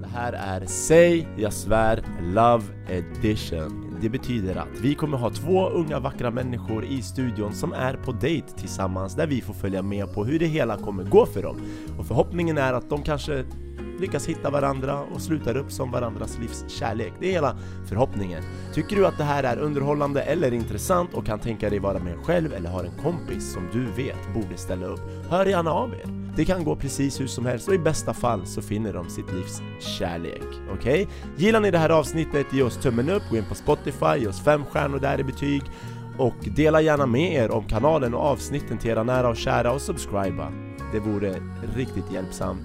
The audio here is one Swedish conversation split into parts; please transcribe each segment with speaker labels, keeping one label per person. Speaker 1: Det här är Säg, jag svär, Love edition. Det betyder att vi kommer ha två unga vackra människor i studion som är på dejt tillsammans där vi får följa med på hur det hela kommer gå för dem. Och förhoppningen är att de kanske lyckas hitta varandra och slutar upp som varandras livs kärlek. Det är hela förhoppningen. Tycker du att det här är underhållande eller intressant och kan tänka dig vara med själv eller har en kompis som du vet borde ställa upp, hör gärna av er. Det kan gå precis hur som helst och i bästa fall så finner de sitt livs kärlek. Okej? Gillar ni det här avsnittet, ge oss tummen upp, gå in på Spotify, ge oss fem stjärnor där i betyg och dela gärna med er om kanalen och avsnitten till era nära och kära och subscriba. Det vore riktigt hjälpsamt.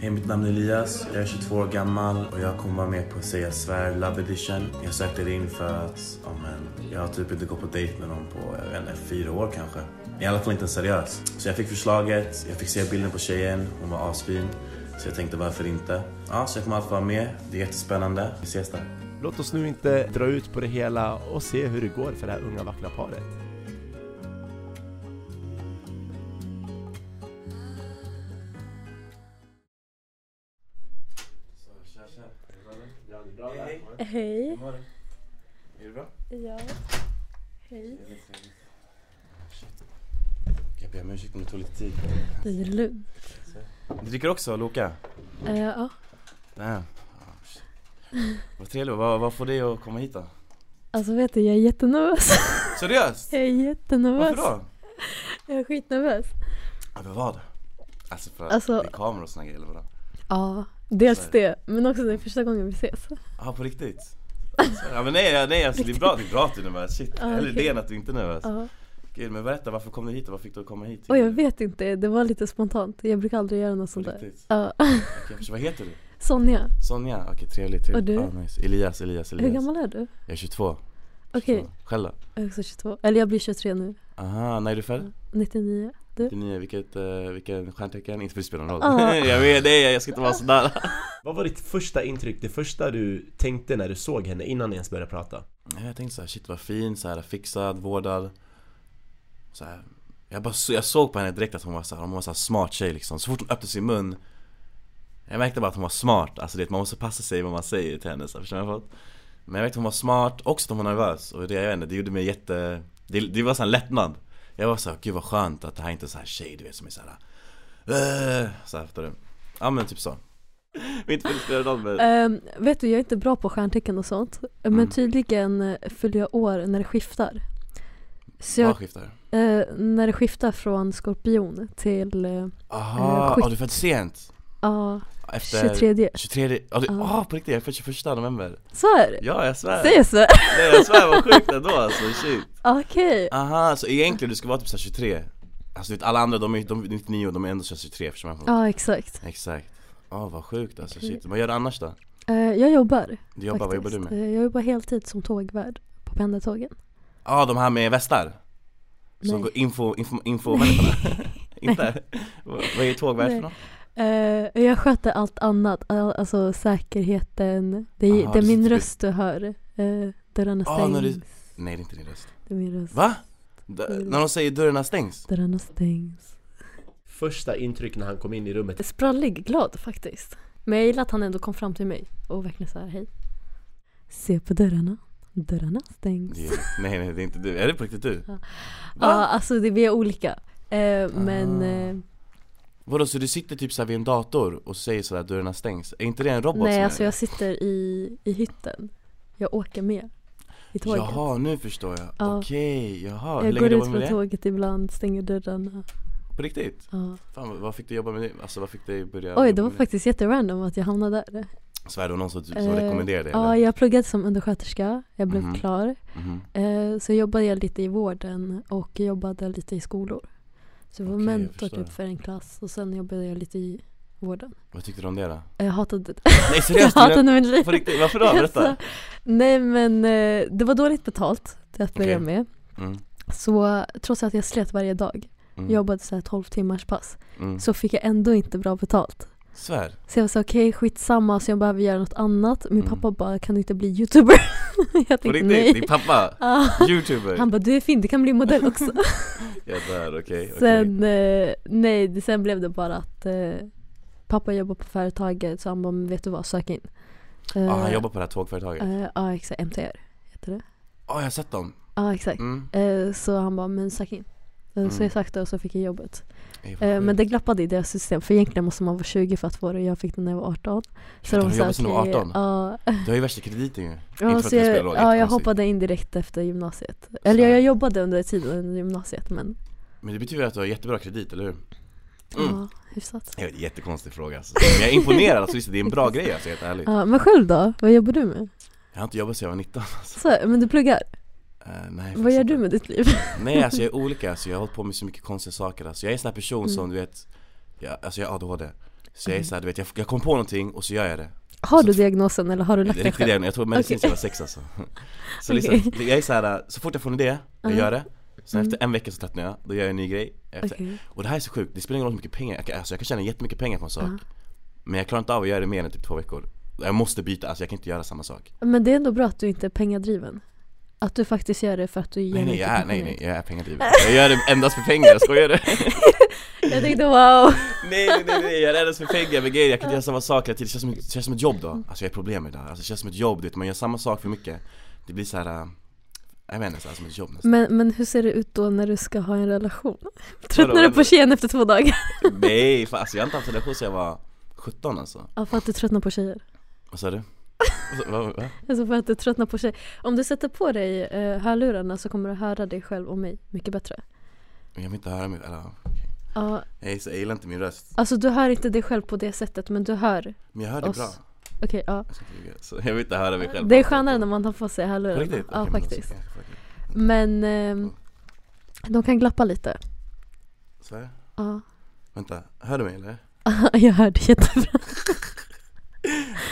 Speaker 2: Hej, mitt namn är Elias. Jag är 22 år gammal och jag kommer vara med på Säga Svär Love Edition. Jag sökte in för att ja, men, jag har typ inte gått på dejt med någon på jag vet inte, fyra år kanske. I alla fall inte en seriös. Så jag fick förslaget, jag fick se bilden på tjejen, hon var asfin. Så jag tänkte varför inte? Ja, så jag kommer alltid vara med. Det är jättespännande. Vi ses där.
Speaker 1: Låt oss nu inte dra ut på det hela och se hur det går för det här unga vackra paret.
Speaker 2: Hej,
Speaker 3: Hej.
Speaker 2: mår Är det bra?
Speaker 3: Ja. Hej.
Speaker 2: Jag ber om ursäkt om det tog lite tid.
Speaker 3: Det är lugnt.
Speaker 2: Du dricker också Loka?
Speaker 3: Eh, ja.
Speaker 2: Nej. Oh, Vad trevligt. Vad, vad får dig att komma hit då?
Speaker 3: Alltså vet du, jag är jättenervös.
Speaker 2: Seriöst?
Speaker 3: Jag är jättenervös.
Speaker 2: Varför då?
Speaker 3: Jag är skitnervös.
Speaker 2: Över vad? Alltså för
Speaker 3: Alltså-
Speaker 2: att det är kameror och såna grejer eller vadå?
Speaker 3: Ja,
Speaker 2: Så
Speaker 3: dels
Speaker 2: är
Speaker 3: det. Men också det är första gången vi ses.
Speaker 2: Ja på riktigt? Alltså, ja men nej, nej alltså det är bra, det är bra att du är nervös, shit.
Speaker 3: Ja,
Speaker 2: Hellre
Speaker 3: okej.
Speaker 2: det än att du inte är nervös.
Speaker 3: Ja.
Speaker 2: Gud men berätta, varför kom du hit och vad fick du att komma hit?
Speaker 3: Och jag vet inte, det var lite spontant. Jag brukar aldrig göra något
Speaker 2: På
Speaker 3: sånt där.
Speaker 2: riktigt?
Speaker 3: Ja.
Speaker 2: Okej, förstår, vad heter du?
Speaker 3: Sonja,
Speaker 2: Sonja? Okej trevligt, trevligt.
Speaker 3: Och du?
Speaker 2: Ah, nice. Elias, Elias,
Speaker 3: hur
Speaker 2: Elias.
Speaker 3: gammal är du?
Speaker 2: Jag är 22.
Speaker 3: Okej,
Speaker 2: 22. Själv då?
Speaker 3: jag är också 22. Eller jag blir 23 nu.
Speaker 2: Aha, när är du född?
Speaker 3: 99. Du?
Speaker 2: 99, vilket, uh, vilken stjärntecken? Inte för det spelar någon roll.
Speaker 3: Ah.
Speaker 2: jag vet, nej jag ska inte vara sådär.
Speaker 1: Vad var ditt första intryck, det första du tänkte när du såg henne innan ni ens började prata?
Speaker 2: Nej, jag tänkte så här, shit vad fin, så här, fixad, vårdad så här, jag, bara, så- jag såg på henne direkt att hon var så här, hon var så här smart tjej liksom Så fort hon öppnade sin mun Jag märkte bara att hon var smart, alltså det, man måste passa sig vad man säger till henne så här, förstår du vad jag menar? Men jag märkte att hon var smart, också att hon var nervös och det, jag vet inte, det gjorde mig jätte Det, det var så här lättnad Jag var så här, gud vad skönt att det här inte är så här tjej du vet som är så här. "Åh", Så här, fattar du? Ja men typ så Mitt fel spelar roll men
Speaker 3: Ehm, vet du, jag är inte bra på stjärntecken och sånt. Men
Speaker 2: Mm.
Speaker 3: tydligen eh, fyller jag år när det skiftar. Så jag
Speaker 2: vad skiftar?
Speaker 3: Eh, när det skiftar från skorpion till eh,
Speaker 2: Aha,
Speaker 3: skytt-
Speaker 2: ja du är född sent?
Speaker 3: ja,
Speaker 2: Efter
Speaker 3: 23
Speaker 2: 23, ja du,
Speaker 3: Ja.
Speaker 2: ah på riktigt, jag är född 21 november
Speaker 3: Så är det?
Speaker 2: Ja jag svär,
Speaker 3: Säger jag så?
Speaker 2: nej jag svär vad sjukt ändå alltså, shit
Speaker 3: Okej,
Speaker 2: Aha, så egentligen du ska vara typ såhär 23 Alltså du vet alla andra, de är de är 99 de är ändå såhär 23 förstår man?
Speaker 3: ja exakt.
Speaker 2: Exakt, ja vad sjukt alltså
Speaker 3: Okej.
Speaker 2: shit, vad gör du annars då?
Speaker 3: Eh, jag jobbar.
Speaker 2: Du jobbar, vad jobbar
Speaker 3: faktiskt.
Speaker 2: du med? Ja
Speaker 3: Eh, jag jobbar heltid som tågvärd på pendeltågen.
Speaker 2: ah, de här med västar?
Speaker 3: Nej.
Speaker 2: Som går info, info, info människorna? Inte? Vad vad är tågvärd för
Speaker 3: Nej.
Speaker 2: något?
Speaker 3: Eh, jag sköter allt annat, all- alltså säkerheten. Det är,
Speaker 2: Aha,
Speaker 3: det är
Speaker 2: du
Speaker 3: min
Speaker 2: sitter-
Speaker 3: röst du hör. Eh, dörrarna
Speaker 2: Ah,
Speaker 3: stängs.
Speaker 2: när du- Nej det är inte din röst
Speaker 3: Det är min röst.
Speaker 2: Va? D- när de säger dörrarna stängs?
Speaker 3: Dörrarna stängs.
Speaker 1: Första intryck när han kom in i rummet.
Speaker 3: Sprallig glad faktiskt. Men jag gillar att han ändå kom fram till mig och verkligen sa hej. Se på dörrarna. Dörrarna stängs.
Speaker 2: Det är, nej nej det är inte du, är det på riktigt du?
Speaker 3: Ja.
Speaker 2: Va?
Speaker 3: Ja, alltså det, vi är olika. Eh, men
Speaker 2: Ah.
Speaker 3: eh,
Speaker 2: Vadå så du sitter typ såhär vid en dator och säger sådär att dörrarna stängs? Är inte det en robot som
Speaker 3: nej
Speaker 2: gör
Speaker 3: alltså
Speaker 2: det?
Speaker 3: jag sitter i, i hytten. Jag åker med i tåget.
Speaker 2: Jaha nu förstår jag,
Speaker 3: Ja.
Speaker 2: okej jaha hur
Speaker 3: jag
Speaker 2: länge
Speaker 3: går
Speaker 2: jobbar
Speaker 3: ut
Speaker 2: du
Speaker 3: på
Speaker 2: med det?
Speaker 3: tåget ibland, stänger dörrarna.
Speaker 2: På riktigt?
Speaker 3: Ja.
Speaker 2: Fan vad- vad fick du jobba med det? Alltså vad fick dig börja
Speaker 3: Oj, det
Speaker 2: jobba
Speaker 3: var
Speaker 2: med
Speaker 3: faktiskt jätterandom att jag hamnade där.
Speaker 2: Svär det var någon som, som
Speaker 3: Eh,
Speaker 2: rekommenderade det
Speaker 3: Ja,
Speaker 2: eller?
Speaker 3: jag pluggade som undersköterska. Jag blev
Speaker 2: Mhm.
Speaker 3: klar.
Speaker 2: Mhm.
Speaker 3: Eh, så jobbade jag lite i vården och jobbade lite i skolor. Så jag var
Speaker 2: Okej, jag
Speaker 3: mentor
Speaker 2: förstår.
Speaker 3: typ för en klass och sen jobbade jag lite i vården.
Speaker 2: Vad tyckte du om det då?
Speaker 3: Eh, Jag hatade det.
Speaker 2: Nej
Speaker 3: Jag
Speaker 2: seriöst? du-
Speaker 3: hatade mitt liv.
Speaker 2: På riktigt, varför då? Berätta!
Speaker 3: Alltså, nej men eh, det var dåligt betalt till att börja
Speaker 2: Okej.
Speaker 3: med.
Speaker 2: Mm,
Speaker 3: Så trots att jag slet varje dag,
Speaker 2: mm,
Speaker 3: jobbade så här 12 timmars pass,
Speaker 2: mm.
Speaker 3: så fick jag ändå inte bra betalt.
Speaker 2: Svär?
Speaker 3: Så jag var så okej skitsamma så jag behöver göra något annat. Min
Speaker 2: Mm.
Speaker 3: pappa bara kan du inte bli youtuber? jag
Speaker 2: På
Speaker 3: tänkte
Speaker 2: riktigt?
Speaker 3: nej.
Speaker 2: Din pappa?
Speaker 3: Ah.
Speaker 2: Youtuber?
Speaker 3: Han bara du är fin, du kan bli modell också.
Speaker 2: Jag dör, okej okej.
Speaker 3: Sen, eh, nej, det- sen blev det bara att eh, pappa jobbar på företaget så han bara, "Men vet du vad, sök in.
Speaker 2: ah,
Speaker 3: Eh,
Speaker 2: han jobbar på det här tågföretaget. Ja,
Speaker 3: eh, Ja, exakt, MTR heter det.
Speaker 2: jag har sett dem.
Speaker 3: Ja, exakt.
Speaker 2: Mm.
Speaker 3: Eh, Så han bara, men sök in. Eh, Så
Speaker 2: Mm.
Speaker 3: jag sökte och så fick jag jobbet.
Speaker 2: Ej, vad
Speaker 3: Eh, Men
Speaker 2: sjukt.
Speaker 3: det glappade i deras system för egentligen måste man vara 20 för att få det och jag fick den när jag var 18. Så
Speaker 2: Shit,
Speaker 3: de
Speaker 2: har
Speaker 3: var
Speaker 2: du
Speaker 3: så här,
Speaker 2: jobbat sedan du var
Speaker 3: okej,
Speaker 2: 18?
Speaker 3: Ja,
Speaker 2: Du har ju värsta krediten ju.
Speaker 3: ja,
Speaker 2: att
Speaker 3: så
Speaker 2: det spelar
Speaker 3: jag,
Speaker 2: roll,
Speaker 3: ja, jag
Speaker 2: jättekonstigt.
Speaker 3: hoppade in direkt efter gymnasiet. Eller jag, jag jobbade under tiden under gymnasiet men
Speaker 2: Men det betyder att du har jättebra kredit, eller hur? Mm.
Speaker 3: ja, hyfsat.
Speaker 2: Jag vet, jättekonstig fråga alltså. Men jag är imponerad, alltså, visst, det är en bra grej alltså, helt ärligt.
Speaker 3: Ja, men själv då? Vad jobbar du med?
Speaker 2: Jag har inte jobbat sedan jag var 19 alltså.
Speaker 3: Så, men du pluggar?
Speaker 2: Eh, nej,
Speaker 3: Vad
Speaker 2: faktiskt
Speaker 3: gör
Speaker 2: inte.
Speaker 3: du med ditt liv?
Speaker 2: Nej alltså jag är olika, alltså, jag har hållit på med så mycket konstiga saker alltså. Jag är en sån här person
Speaker 3: Mm.
Speaker 2: som du vet, jag, alltså jag har ADHD Så jag är såhär, du vet, jag, jag kom på någonting och så gör jag det
Speaker 3: Har du diagnosen eller har du
Speaker 2: Det är
Speaker 3: lagt den
Speaker 2: riktigt
Speaker 3: själv?
Speaker 2: det, jag tog medicin sedan jag var sex alltså Så
Speaker 3: Okej.
Speaker 2: liksom, jag är såhär, så fort jag får en idé, jag
Speaker 3: Aha.
Speaker 2: gör det Sen
Speaker 3: Mm.
Speaker 2: efter en vecka så tröttnar jag, då gör jag en ny grej efter.
Speaker 3: Okej.
Speaker 2: Och det här är så sjukt, det spelar ingen roll hur mycket pengar, jag kan, alltså jag kan tjäna jättemycket pengar på en sak
Speaker 3: Ja.
Speaker 2: Men jag klarar inte av att göra det mer än typ två veckor Jag måste byta, alltså jag kan inte göra samma sak
Speaker 3: Men det är ändå bra att du inte är pengadriven. Att du faktiskt gör det för att du gör
Speaker 2: Nej nej
Speaker 3: mycket
Speaker 2: jag är, nej,
Speaker 3: pengar.
Speaker 2: nej, jag är pengadriven Jag gör det endast för pengar, jag skojar du?
Speaker 3: Jag tänkte wow.
Speaker 2: Nej nej nej, nej jag är rädd för pengar men grejen är, jag kan inte göra samma sak hela tiden, det känns som, det känns som ett jobb då Alltså jag har problem med det där. alltså det känns som ett jobb, du vet man gör samma sak för mycket Det blir såhär, äh, jag vet inte, så här, som ett jobb nästan
Speaker 3: Men, men hur ser det ut då när du ska ha en relation? Tröttnar du
Speaker 2: vadå?
Speaker 3: på tjejen efter två dagar?
Speaker 2: Nej fan, alltså jag har inte haft relation sedan jag var 17 alltså
Speaker 3: Ja, för att du tröttnar på tjejer.
Speaker 2: Vad sa du? Vad- vad- vad?
Speaker 3: Alltså för att du tröttnar på tjejer. Om du sätter på dig eh, hörlurarna så kommer du höra dig själv och mig mycket bättre.
Speaker 2: Jag vill inte höra mig, eller
Speaker 3: Ja,
Speaker 2: jag gillar- jag gillar inte min röst
Speaker 3: alltså du hör inte dig själv på det sättet men du hör.
Speaker 2: Men jag hör det
Speaker 3: Oss.
Speaker 2: bra,
Speaker 3: Okej, ja.
Speaker 2: jag ska inte ljuga Så jag vill inte höra mig själv
Speaker 3: Det är skönare när man tar på sig
Speaker 2: På
Speaker 3: hörlurarna.
Speaker 2: riktigt?
Speaker 3: Ja,
Speaker 2: Okej, men alltså,
Speaker 3: faktiskt.
Speaker 2: ja, fuck it.
Speaker 3: Men ehm, de kan glappa lite.
Speaker 2: Så här.
Speaker 3: Ja,
Speaker 2: Vänta, hör du mig eller?
Speaker 3: jag hörde jättebra.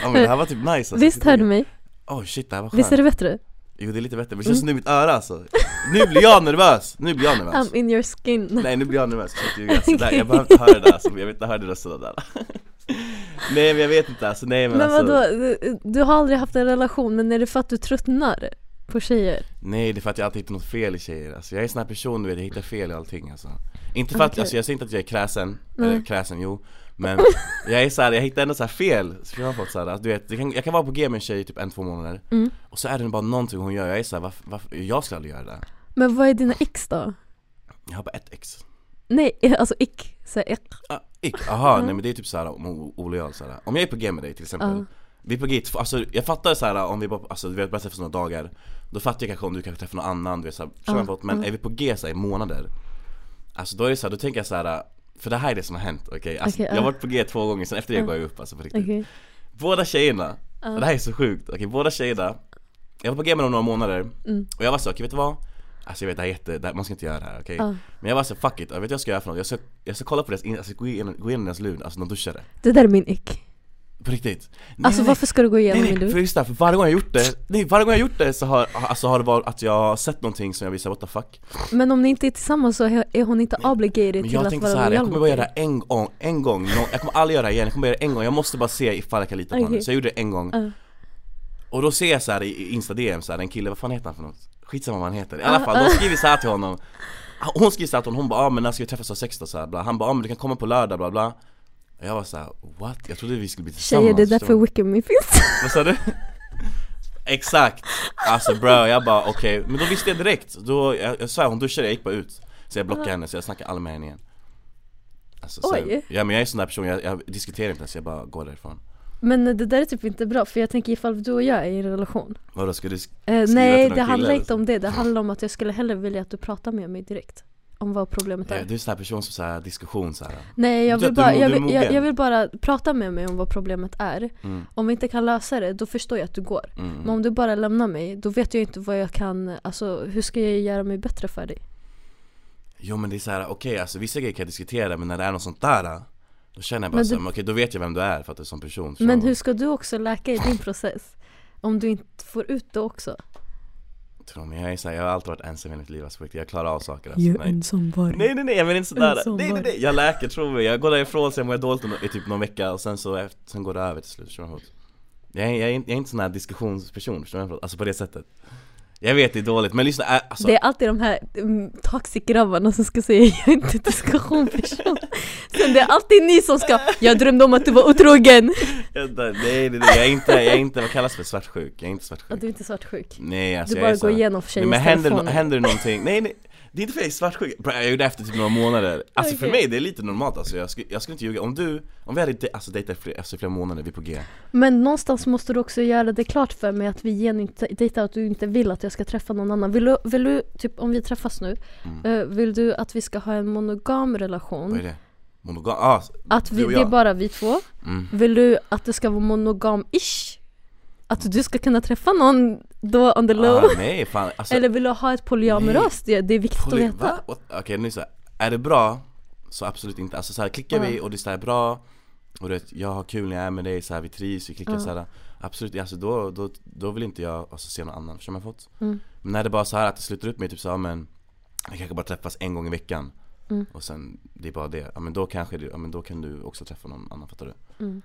Speaker 2: Ja men det här var typ nice alltså.
Speaker 3: Visst hör du mig?
Speaker 2: Oj shit det här var skönt
Speaker 3: Visst är det Mm. bättre?
Speaker 2: Jo det är lite bättre, men det känns som nu i mitt öra alltså Nu blir jag nervös! Nu blir jag nervös!
Speaker 3: I'm in your skin.
Speaker 2: Alltså. Nej nu blir jag nervös, jag ska inte ljuga. alltså, där, jag behöver inte höra det där alltså, jag vill inte höra det där sådär Nej men jag vet inte alltså, nej men,
Speaker 3: Men
Speaker 2: alltså
Speaker 3: vadå, du, du har aldrig haft en relation men är det för att du tröttnar på tjejer?
Speaker 2: Nej det är för att jag alltid hittar något fel i tjejer alltså, jag är en sån här person du vet, jag hittar fel i allting alltså Inte för att,
Speaker 3: Okej.
Speaker 2: alltså jag säger inte att jag är kräsen,
Speaker 3: Nej.
Speaker 2: eller kräsen jo Men jag är såhär, jag hittar ändå såhär fel, så jag har fått såhär, alltså, du vet, jag kan, jag kan vara på g med en tjej i typ en, två månader
Speaker 3: Mm.
Speaker 2: Och så är det bara någonting hon gör, jag är såhär, varför, varför, jag skulle aldrig göra det där.
Speaker 3: Men vad är dina ex då?
Speaker 2: Jag har bara ett ex
Speaker 3: Nej, alltså ick. Så ick.
Speaker 2: Ah, ick, aha, nej men det är typ såhär om o- olojal såhär. Om jag är på G med dig till exempel
Speaker 3: Ja.
Speaker 2: Vi är på G, två- alltså jag fattar såhär om vi bara, alltså vi har bara träffats några dagar Då fattar jag kanske om du kanske träffar någon annan, du vet såhär,
Speaker 3: Ja,
Speaker 2: uh, men är vi på G såhär i månader Alltså då är det såhär, då tänker jag såhär För det här är det som har hänt, okej? Alltså,
Speaker 3: Okej,
Speaker 2: jag har
Speaker 3: ja.
Speaker 2: varit på G två gånger, sen efter det går jag upp alltså på riktigt
Speaker 3: Okej.
Speaker 2: Båda tjejerna,
Speaker 3: Ja.
Speaker 2: det här är så sjukt, okej båda tjejerna Jag var på G med dem några månader
Speaker 3: Mm.
Speaker 2: och jag var så, okej vet du vad? Alltså jag vet det här är jätte, det här, man ska inte göra det här okej?
Speaker 3: Ja.
Speaker 2: Men jag var så fuck it, jag vet vad jag ska göra för något? Jag ska, jag ska kolla på deras, in, alltså gå igenom, gå igenom deras lun, alltså de duschade
Speaker 3: Det där är min ick.
Speaker 2: På riktigt nej,
Speaker 3: Alltså
Speaker 2: nej,
Speaker 3: varför ska du gå
Speaker 2: nej,
Speaker 3: igenom
Speaker 2: nej,
Speaker 3: min
Speaker 2: nej, för
Speaker 3: lur?
Speaker 2: just det här, för varje gång jag gjort det, nej varje gång jag gjort det så har, alltså har det varit att jag har sett någonting som jag visar what the fuck
Speaker 3: Men om ni inte är tillsammans så är hon inte obligated
Speaker 2: Men
Speaker 3: till
Speaker 2: jag
Speaker 3: att
Speaker 2: tänkte
Speaker 3: vara
Speaker 2: så här, jag
Speaker 3: lojal
Speaker 2: kommer
Speaker 3: mot
Speaker 2: bara göra
Speaker 3: dig.
Speaker 2: det en gång, en gång, nå- jag kommer aldrig göra det igen, jag kommer bara göra det en gång, jag måste bara se ifall jag kan lita på henne
Speaker 3: Okej.
Speaker 2: Så jag gjorde det en gång
Speaker 3: Ja.
Speaker 2: Och då ser jag så här i- i insta-DM så här, en kille, vad fan heter han för något? Skitsamma vad han heter, i alla
Speaker 3: Ah,
Speaker 2: fall,
Speaker 3: ah.
Speaker 2: de skriver så här till honom Hon skriver så här till honom, hon bara ah, men när ska vi träffas och sex då? Så här, bla. Han bara ah, men du kan komma på lördag bla bla Och Jag var så här, what? Jag trodde vi skulle bli tillsammans
Speaker 3: Tjejer, det är
Speaker 2: förstår
Speaker 3: därför
Speaker 2: du?
Speaker 3: Wickemy finns.
Speaker 2: Vad sa du? Exakt! Alltså bro, jag bara okej, men då visste jag direkt då, jag, jag svär hon duschade, jag gick bara ut Så jag blockade henne, så jag snackade aldrig med henne igen Alltså, så,
Speaker 3: Oj.
Speaker 2: Ja men jag är en sån där person, jag, jag diskuterar inte ens, jag bara går därifrån
Speaker 3: Men det där är typ inte bra för jag tänker ifall du och jag är i en relation.
Speaker 2: Vadå ska du sk-
Speaker 3: Eh,
Speaker 2: Skriva
Speaker 3: nej,
Speaker 2: till någon
Speaker 3: det
Speaker 2: kille
Speaker 3: handlar
Speaker 2: eller
Speaker 3: inte om det. Det handlar om att jag skulle hellre vilja att du pratar med mig direkt. Om vad problemet
Speaker 2: Ja,
Speaker 3: är.
Speaker 2: Du är en sån här person som så här, diskussion så här.
Speaker 3: Nej jag
Speaker 2: Du-
Speaker 3: vill,
Speaker 2: du är
Speaker 3: bara,
Speaker 2: mo-
Speaker 3: jag,
Speaker 2: du är
Speaker 3: vill, jag,
Speaker 2: mogen.
Speaker 3: jag vill bara prata med mig om vad problemet är.
Speaker 2: Mm.
Speaker 3: Om vi inte kan lösa det, då förstår jag att du går.
Speaker 2: Mm.
Speaker 3: Men om du bara lämnar mig, då vet jag inte vad jag kan, alltså hur ska jag göra mig bättre för dig?
Speaker 2: Jo men det är så här, okej alltså vissa grejer kan jag diskutera men när det är något sånt där Då känner jag bara
Speaker 3: Men
Speaker 2: så här,
Speaker 3: du-
Speaker 2: men okej då vet jag vem du är för att du är en sån person
Speaker 3: Men
Speaker 2: Så-
Speaker 3: hur ska du också läka i din process? Om du inte får ut det också?
Speaker 2: Tror mig, jag är så här, jag har alltid varit ensam i mitt liv alltså, på riktigt. jag klarar av saker alltså,
Speaker 4: Jag är
Speaker 2: nej.
Speaker 4: ensam varg.
Speaker 2: Nej nej nej jag menar inte sådär,
Speaker 4: Ensam
Speaker 2: nej nej nej Jag läker tror mig, jag går därifrån sen mår jag dåligt i typ någon vecka och sen så, efter- sen går det över till slut, förstår du vad jag menar? jag, är- jag, är inte- jag är inte sån här diskussionsperson, förstår du vad jag menar? Alltså på det sättet Jag vet det är dåligt men lyssna, äh, alltså,
Speaker 3: Det är alltid de här mm, toxic-grabbarna som ska säga jag är inte diskussionsperson. Sen det är alltid ni som ska jag drömde om att du var otrogen.
Speaker 2: Vänta, nej, nej, nej, jag är inte, jag är inte, vad kallas det, svartsjuk? Jag är inte
Speaker 3: Att
Speaker 2: svartsjuk
Speaker 3: du inte är svartsjuk.
Speaker 2: Nej alltså
Speaker 3: Du
Speaker 2: jag är
Speaker 3: bara
Speaker 2: så
Speaker 3: går
Speaker 2: här-
Speaker 3: igenom
Speaker 2: Nej,
Speaker 3: tjejens
Speaker 2: men händer,
Speaker 3: telefoner.
Speaker 2: händer det någonting, nej nej det är inte för att jag är svartsjuk, Bra, jag gjorde det efter typ några månader Alltså för
Speaker 3: Okej.
Speaker 2: mig det är lite normalt alltså, jag skulle, jag skulle inte ljuga Om du, om vi hade de, alltså, dejtat i flera, alltså, i flera månader, vi är på G
Speaker 3: Men någonstans måste du också göra det klart för mig att vi genuint dejtar och att du inte vill att jag ska träffa någon annan. Vill du, vill du typ om vi träffas nu, eh, vill du att vi ska ha en monogam relation?
Speaker 2: Mm. Vad är det? Monogam? Ah,
Speaker 3: Att
Speaker 2: Du
Speaker 3: vi,
Speaker 2: och
Speaker 3: det är
Speaker 2: jag.
Speaker 3: bara vi två?
Speaker 2: Mm.
Speaker 3: Vill du att det ska vara monogam-ish? Att du ska kunna träffa någon då on the low?
Speaker 2: ah nej fan alltså,
Speaker 3: Eller vill du ha ett polyamoröst? Det, det är viktigt
Speaker 2: Poly-
Speaker 3: att veta.
Speaker 2: va? What? Okej nu så här. är det bra så absolut inte, alltså så här, klickar vi och det är så här bra och du vet, jag har kul när jag är med dig, så här, vi trivs, vi klickar så här. Absolut, alltså då, då, då vill inte jag alltså, se någon annan, förstår man fått?
Speaker 3: Mm.
Speaker 2: Men när det bara så här att det slutar upp med typ så här, men vi kanske bara träffas en gång i veckan
Speaker 3: Mm.
Speaker 2: och sen det är bara det, ja men då kanske du, ja men då kan du också träffa någon annan, fattar du?
Speaker 3: Mm.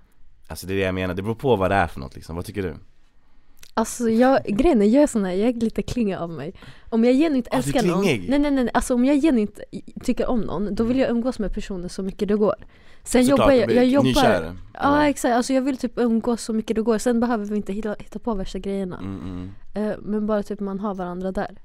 Speaker 2: Alltså det är det jag menar, det beror på vad det är för något liksom, vad tycker du?
Speaker 3: Alltså jag, grejen är, jag är sån här, jag är lite klingig av mig. Om jag genuint
Speaker 2: Ah, du är
Speaker 3: älskar någon, nej
Speaker 2: klingig? Mm.
Speaker 3: nej nej, alltså om jag genuint tycker om någon, då vill jag umgås med personen så mycket det går. Sen
Speaker 2: Såklart,
Speaker 3: jobbar
Speaker 2: du
Speaker 3: jag,
Speaker 2: blir
Speaker 3: jag jobbar,
Speaker 2: nykär. Mm.
Speaker 3: Ja exakt, alltså jag vill typ umgås så mycket det går. Sen behöver vi inte hitta, hitta på värsta grejerna.
Speaker 2: Mm, mm.
Speaker 3: Eh, men bara typ man har varandra där.